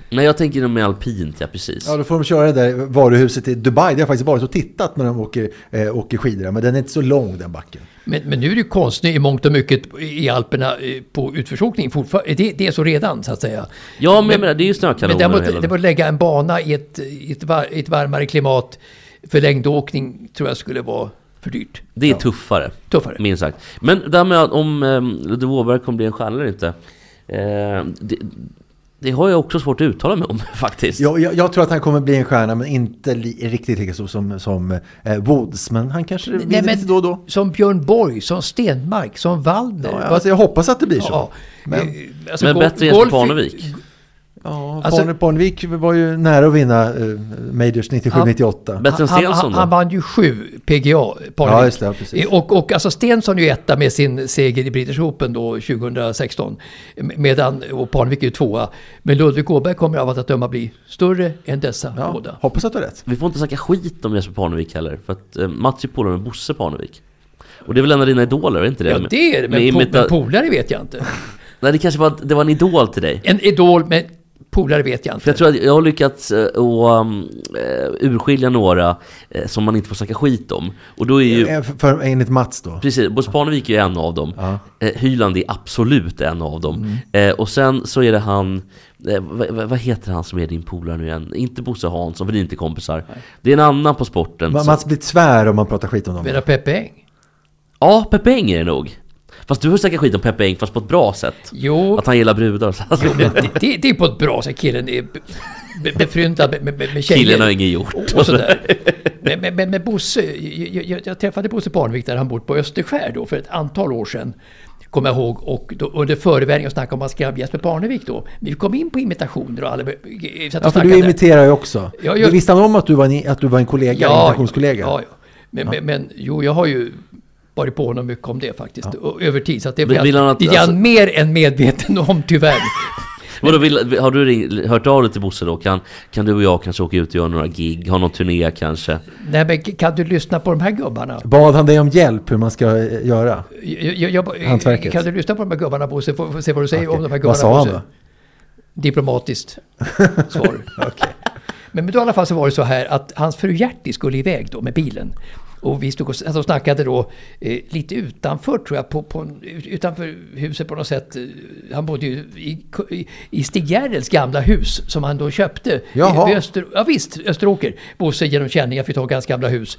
Speaker 1: Nej, jag tänker med alpint, ja precis.
Speaker 2: Ja, då får de köra det där varuhuset i Dubai. Det har jag faktiskt varit och tittat när de åker, eh, åker skidor. där. Men den är inte så lång den backen.
Speaker 3: Men, men nu är det ju konstnär i mångt och mycket i Alperna eh, på utförsåkning. fortfar- Det, det är så redan så att säga.
Speaker 1: Ja, men jag menar, det är ju snökanoner
Speaker 3: Men
Speaker 1: och
Speaker 3: däremot,
Speaker 1: hela
Speaker 3: det
Speaker 1: den.
Speaker 3: att lägga en bana i ett, i, ett var, i ett varmare klimat för längdåkning tror jag skulle vara för dyrt.
Speaker 1: Det är tuffare,
Speaker 3: Tuffare.
Speaker 1: minst sagt. ehm, Men ehm, det här med att om um, Ludde Åberg kommer bli en stjärna eller inte. eh, det, Det har jag också svårt att uttala mig om faktiskt.
Speaker 2: Jag, jag, jag tror att han kommer bli en stjärna, men inte li, riktigt lika stor som, som eh, Woods. Men han kanske vinner
Speaker 3: Nej, men-
Speaker 2: lite då och då.
Speaker 3: Som Björn Borg, som Stenmark, som Waldner.
Speaker 2: Ja,
Speaker 3: Vad-
Speaker 2: alltså, jag hoppas att det blir så.
Speaker 3: Ja.
Speaker 2: Men
Speaker 3: Eh, alltså,
Speaker 1: Men
Speaker 3: go-
Speaker 1: bättre Jesper
Speaker 3: golf-
Speaker 1: Parnevik.
Speaker 2: ja,
Speaker 3: Alltså-
Speaker 2: Parne- Parnevik var ju nära att vinna eh, Majors 97-98.
Speaker 1: Bättre än
Speaker 3: Han, han,
Speaker 1: Stensson då?
Speaker 3: han vann ju sju PGA, Parnevik.
Speaker 2: Ja, just det, ja, precis.
Speaker 3: Eh, Och, och alltså Stensson är ju etta med sin seger i British Open då 2016. M- Medan, och Parnevik är ju tvåa. Men Ludvig Åberg kommer av allt att döma bli större än dessa
Speaker 2: Ja,
Speaker 3: båda.
Speaker 2: hoppas att du har rätt.
Speaker 1: Vi får inte snacka skit om Jesper Parnevik heller, för att eh, Mats är polare med Bosse Parnevik. Och det är väl en av dina idoler, är det inte det?
Speaker 3: Ja, det är det. Men, po-
Speaker 1: imita-
Speaker 3: men polare vet jag inte.
Speaker 1: Nej, det kanske var, det var en idol till dig.
Speaker 3: En idol, men polare vet jag inte.
Speaker 1: För jag tror att jag har lyckats eh, att um, eh, urskilja några eh, som man inte får snacka skit om. Och då är ju,
Speaker 2: Eh, För, för, enligt Mats då.
Speaker 1: precis, Bosse Parnevik är ju en av dem.
Speaker 2: Ja.
Speaker 1: Eh, Hyland är absolut en av dem. Eh, och sen så är det han, eh, vad, vad vad heter han som är din polare nu igen? Inte Bosse Hansson, för ni är inte kompisar. Det är en annan på sporten.
Speaker 2: Ma-
Speaker 1: som-
Speaker 2: Mats blir tvär om man pratar skit om dem.
Speaker 3: Menar Peppe Eng?
Speaker 1: Ja, Peppe Eng är det nog. Fast du har snackat skit om Peppe Eng, fast på ett bra sätt.
Speaker 3: Jo,
Speaker 1: Att han gillar brudar. Så alltså,
Speaker 3: men det, det, det är på ett bra sätt. Killen är be- be- befryntad med, med, med tjejer.
Speaker 1: killen har inget gjort.
Speaker 3: och, och sådär. Men, men, men, men Bosse, jag, jag, jag träffade Bosse Parnevik där han bott på Österskär då för ett antal år sedan. Kommer jag ihåg. Och då, under förevändningen snackade om att skrev Jesper Parnevik då. Vi kom in på imitationer och alla... vi satt och
Speaker 2: Ja, för du
Speaker 3: snackade.
Speaker 2: imiterar ju också.
Speaker 3: Ja, jag-
Speaker 2: Visste han om att du var en, att du var en kollega, en imitationskollega?
Speaker 3: Ja, ja. Men, men, men jo, jag har ju varit på honom mycket om det faktiskt. Och, över tid. Så att det,
Speaker 1: Vill-
Speaker 3: blir
Speaker 1: vill han
Speaker 3: han,
Speaker 1: att-
Speaker 3: det är han
Speaker 1: alltså-
Speaker 3: mer än medveten om tyvärr.
Speaker 1: Vadå, vill, har du ring, hört av dig till Bosse då? Kan, kan du och jag kanske åka ut och göra några gig? Ha någon turné kanske?
Speaker 3: Nej, men kan du lyssna på de här gubbarna?
Speaker 2: Bad han dig om hjälp hur man ska eh, göra?
Speaker 3: Jag, jag, jag,
Speaker 2: Hantverket.
Speaker 3: kan du lyssna på de här gubbarna Bosse? Får, får se vad du säger om de här gubbarna
Speaker 2: Vad sa han
Speaker 3: Bosse?
Speaker 2: då?
Speaker 3: Diplomatiskt svar. Men, men då i alla fall så var det så här att hans fru Gerti skulle iväg då med bilen. Och vi stod och alltså, snackade då eh, lite utanför tror jag, på, på, en- ut- utanför huset på något sätt. Eh, Han bodde ju i, i, i Stig Gerrels gamla hus som han då köpte.
Speaker 2: Jaha.
Speaker 3: I, vid Öster, ja visst, Österåker. Bosse genom känningar fick tag i hans gamla hus.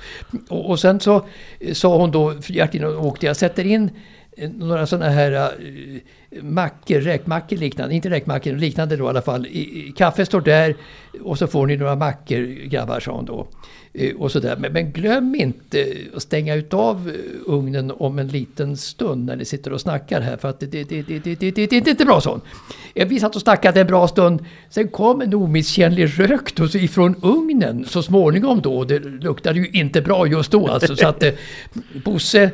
Speaker 3: Och, och sen så eh, sa hon då, Gertin och åkte, jag sätter in eh, några sådana här eh, mackor, räkmackor liknande, inte räkmackor, liknande då i alla fall. I, i, kaffe står där och så får ni några mackor grabbar, sa hon då. Eh, Och så där. Men, men glöm inte att stänga utav eh, ugnen om en liten stund när ni sitter och snackar här för att det, det, det, det, det, det, det, det är inte bra sånt. Eh, Vi satt och snackade en bra stund. Sen kom en omisskännlig rök då, så ifrån ugnen så småningom då. Det luktade ju inte bra just då alltså. Så att eh, Bosse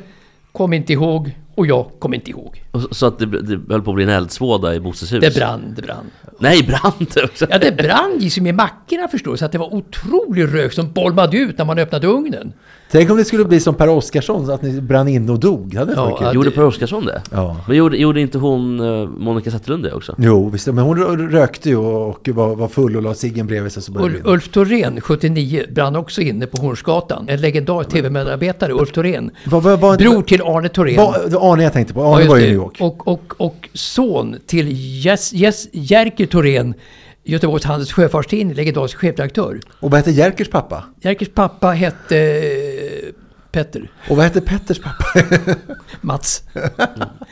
Speaker 3: kom inte ihåg och jag kom inte ihåg.
Speaker 1: Och, så- så att det, det höll på att bli en eldsvåda i Bosses hus?
Speaker 3: Det brann, det brann.
Speaker 1: Nej, brann det också?
Speaker 3: Ja, det brann ju som i mackorna förstår du. Så att det var otrolig rök som bolmade ut när man öppnade ugnen.
Speaker 2: Tänk om det skulle bli som Per Oscarsson, så att ni brann in och dog. Det hade
Speaker 3: Ja,
Speaker 2: varit kul.
Speaker 3: att-
Speaker 1: Gjorde Per Oscarsson det?
Speaker 2: Ja.
Speaker 1: Men gjorde, gjorde inte hon eh, Monica Zetterlund det också?
Speaker 2: Jo, visst. Men hon rö- rökte ju och var, var full och la ciggen bredvid sig. Så började det
Speaker 3: Ul-
Speaker 2: brinna.
Speaker 3: Ulf Thorén, 79, brann också inne på Hornsgatan. En legendar tv-medarbetare, Ulf Thorén.
Speaker 2: Vad- vad- vad-
Speaker 3: Bror till Arne Thorén.
Speaker 2: Vad- det var Arne jag tänkte på.
Speaker 3: Ja,
Speaker 2: Arne
Speaker 3: just
Speaker 2: var ju i
Speaker 3: det.
Speaker 2: New York.
Speaker 3: Och, och, och son till Jes, Jes, Jerker Thorén, Göteborgs Handels Sjöfartstidning, legendarisk chefredaktör.
Speaker 2: Och vad hette Jerkers pappa?
Speaker 3: Jerkers pappa hette eh, Petter,
Speaker 2: Och vad hette Petters pappa?
Speaker 3: Mats.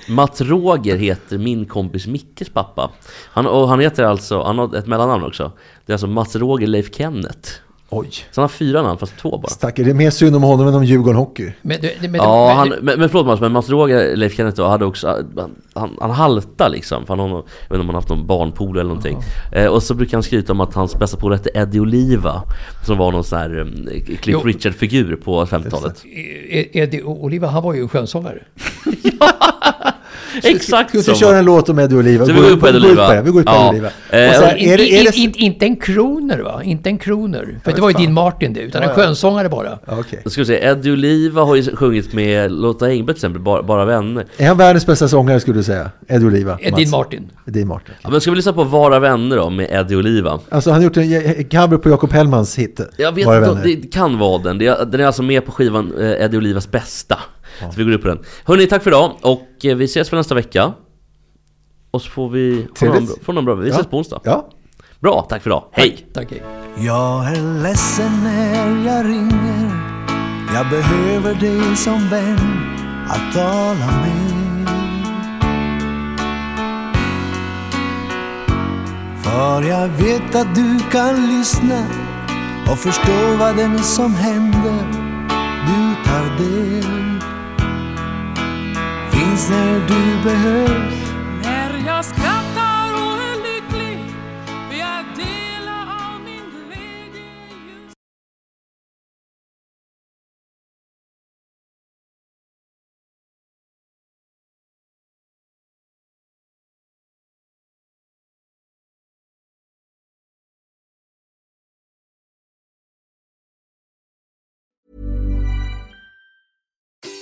Speaker 1: Mats Roger heter min kompis Mickes pappa. Han, och han heter alltså, han har ett mellannamn också. Det är alltså Mats Roger Leif Kenneth.
Speaker 2: Oj.
Speaker 1: Så han har fyra namn, fast två bara.
Speaker 2: Stackare, det är mer synd om honom än om Djurgården Hockey.
Speaker 3: Men, det- det- men,
Speaker 1: Ja,
Speaker 3: men-
Speaker 1: han, men, men förlåt Mats, men Mats Roger, Leif Kenneth då, hade också, han, han, han haltar liksom. För han har, någon- jag vet inte om han haft någon barnpool eller någonting. Eh, och så brukar han skryta om att hans bästa polare hette Eddie Oliva. Som var någon sån här eh, Cliff
Speaker 3: Jo.
Speaker 1: Richard-figur på 50-talet.
Speaker 3: E- Eddie Oliva, han var ju en skönsångare.
Speaker 1: Exakt
Speaker 2: Ska vi
Speaker 1: så!
Speaker 2: inte köra en låt om Eddie Oliva?
Speaker 1: Så vi går ut på Eddie
Speaker 2: Vi går ut på
Speaker 1: Oliva.
Speaker 2: det. Vi går ut på
Speaker 1: Ja.
Speaker 2: Eddie Oliva.
Speaker 1: Eh,
Speaker 2: Och så här,
Speaker 3: In,
Speaker 2: är det, är det...
Speaker 3: in, in, Alltså, inte en kroner va? Inte en kroner. För det
Speaker 2: vet
Speaker 3: var ju
Speaker 2: fan.
Speaker 3: din Martin det, utan en skönsångare bara.
Speaker 2: Ja, okej.
Speaker 1: Då ska vi se, Eddie Oliva har ju sjungit med Lotta Engberg till exempel, bara, bara vänner.
Speaker 2: Är han världens bästa sångare skulle du säga? Eddie Oliva?
Speaker 3: Eh, Din Martin.
Speaker 2: Dean Martin.
Speaker 1: Ja, men ska vi lyssna på Vara vänner då, med Eddie Oliva?
Speaker 2: Alltså han har gjort en eh, cover på Jakob Hellmans hit.
Speaker 1: Jag vet
Speaker 2: Våra
Speaker 1: inte,
Speaker 2: vänner.
Speaker 1: det kan vara den. Det är- Den är alltså med på skivan eh, Eddie Olivas bästa. Så vi går upp på den. Hörni, tack för idag och eh, vi ses väl nästa vecka. Och så får vi... Får någon,
Speaker 2: Trevligt.
Speaker 1: får någon bra, vi
Speaker 2: Ja.
Speaker 1: ses på onsdag.
Speaker 2: Ja.
Speaker 1: Bra, tack för idag. Hej!
Speaker 3: Tack, hej.
Speaker 4: Jag är ledsen när jag ringer Jag behöver dig som vän att tala med För
Speaker 2: För jag vet att du kan lyssna och förstå vad det är som händer. Du tar del. Finns när du behövs.
Speaker 3: När jag skrattar och är lycklig för jag delar av min glädje just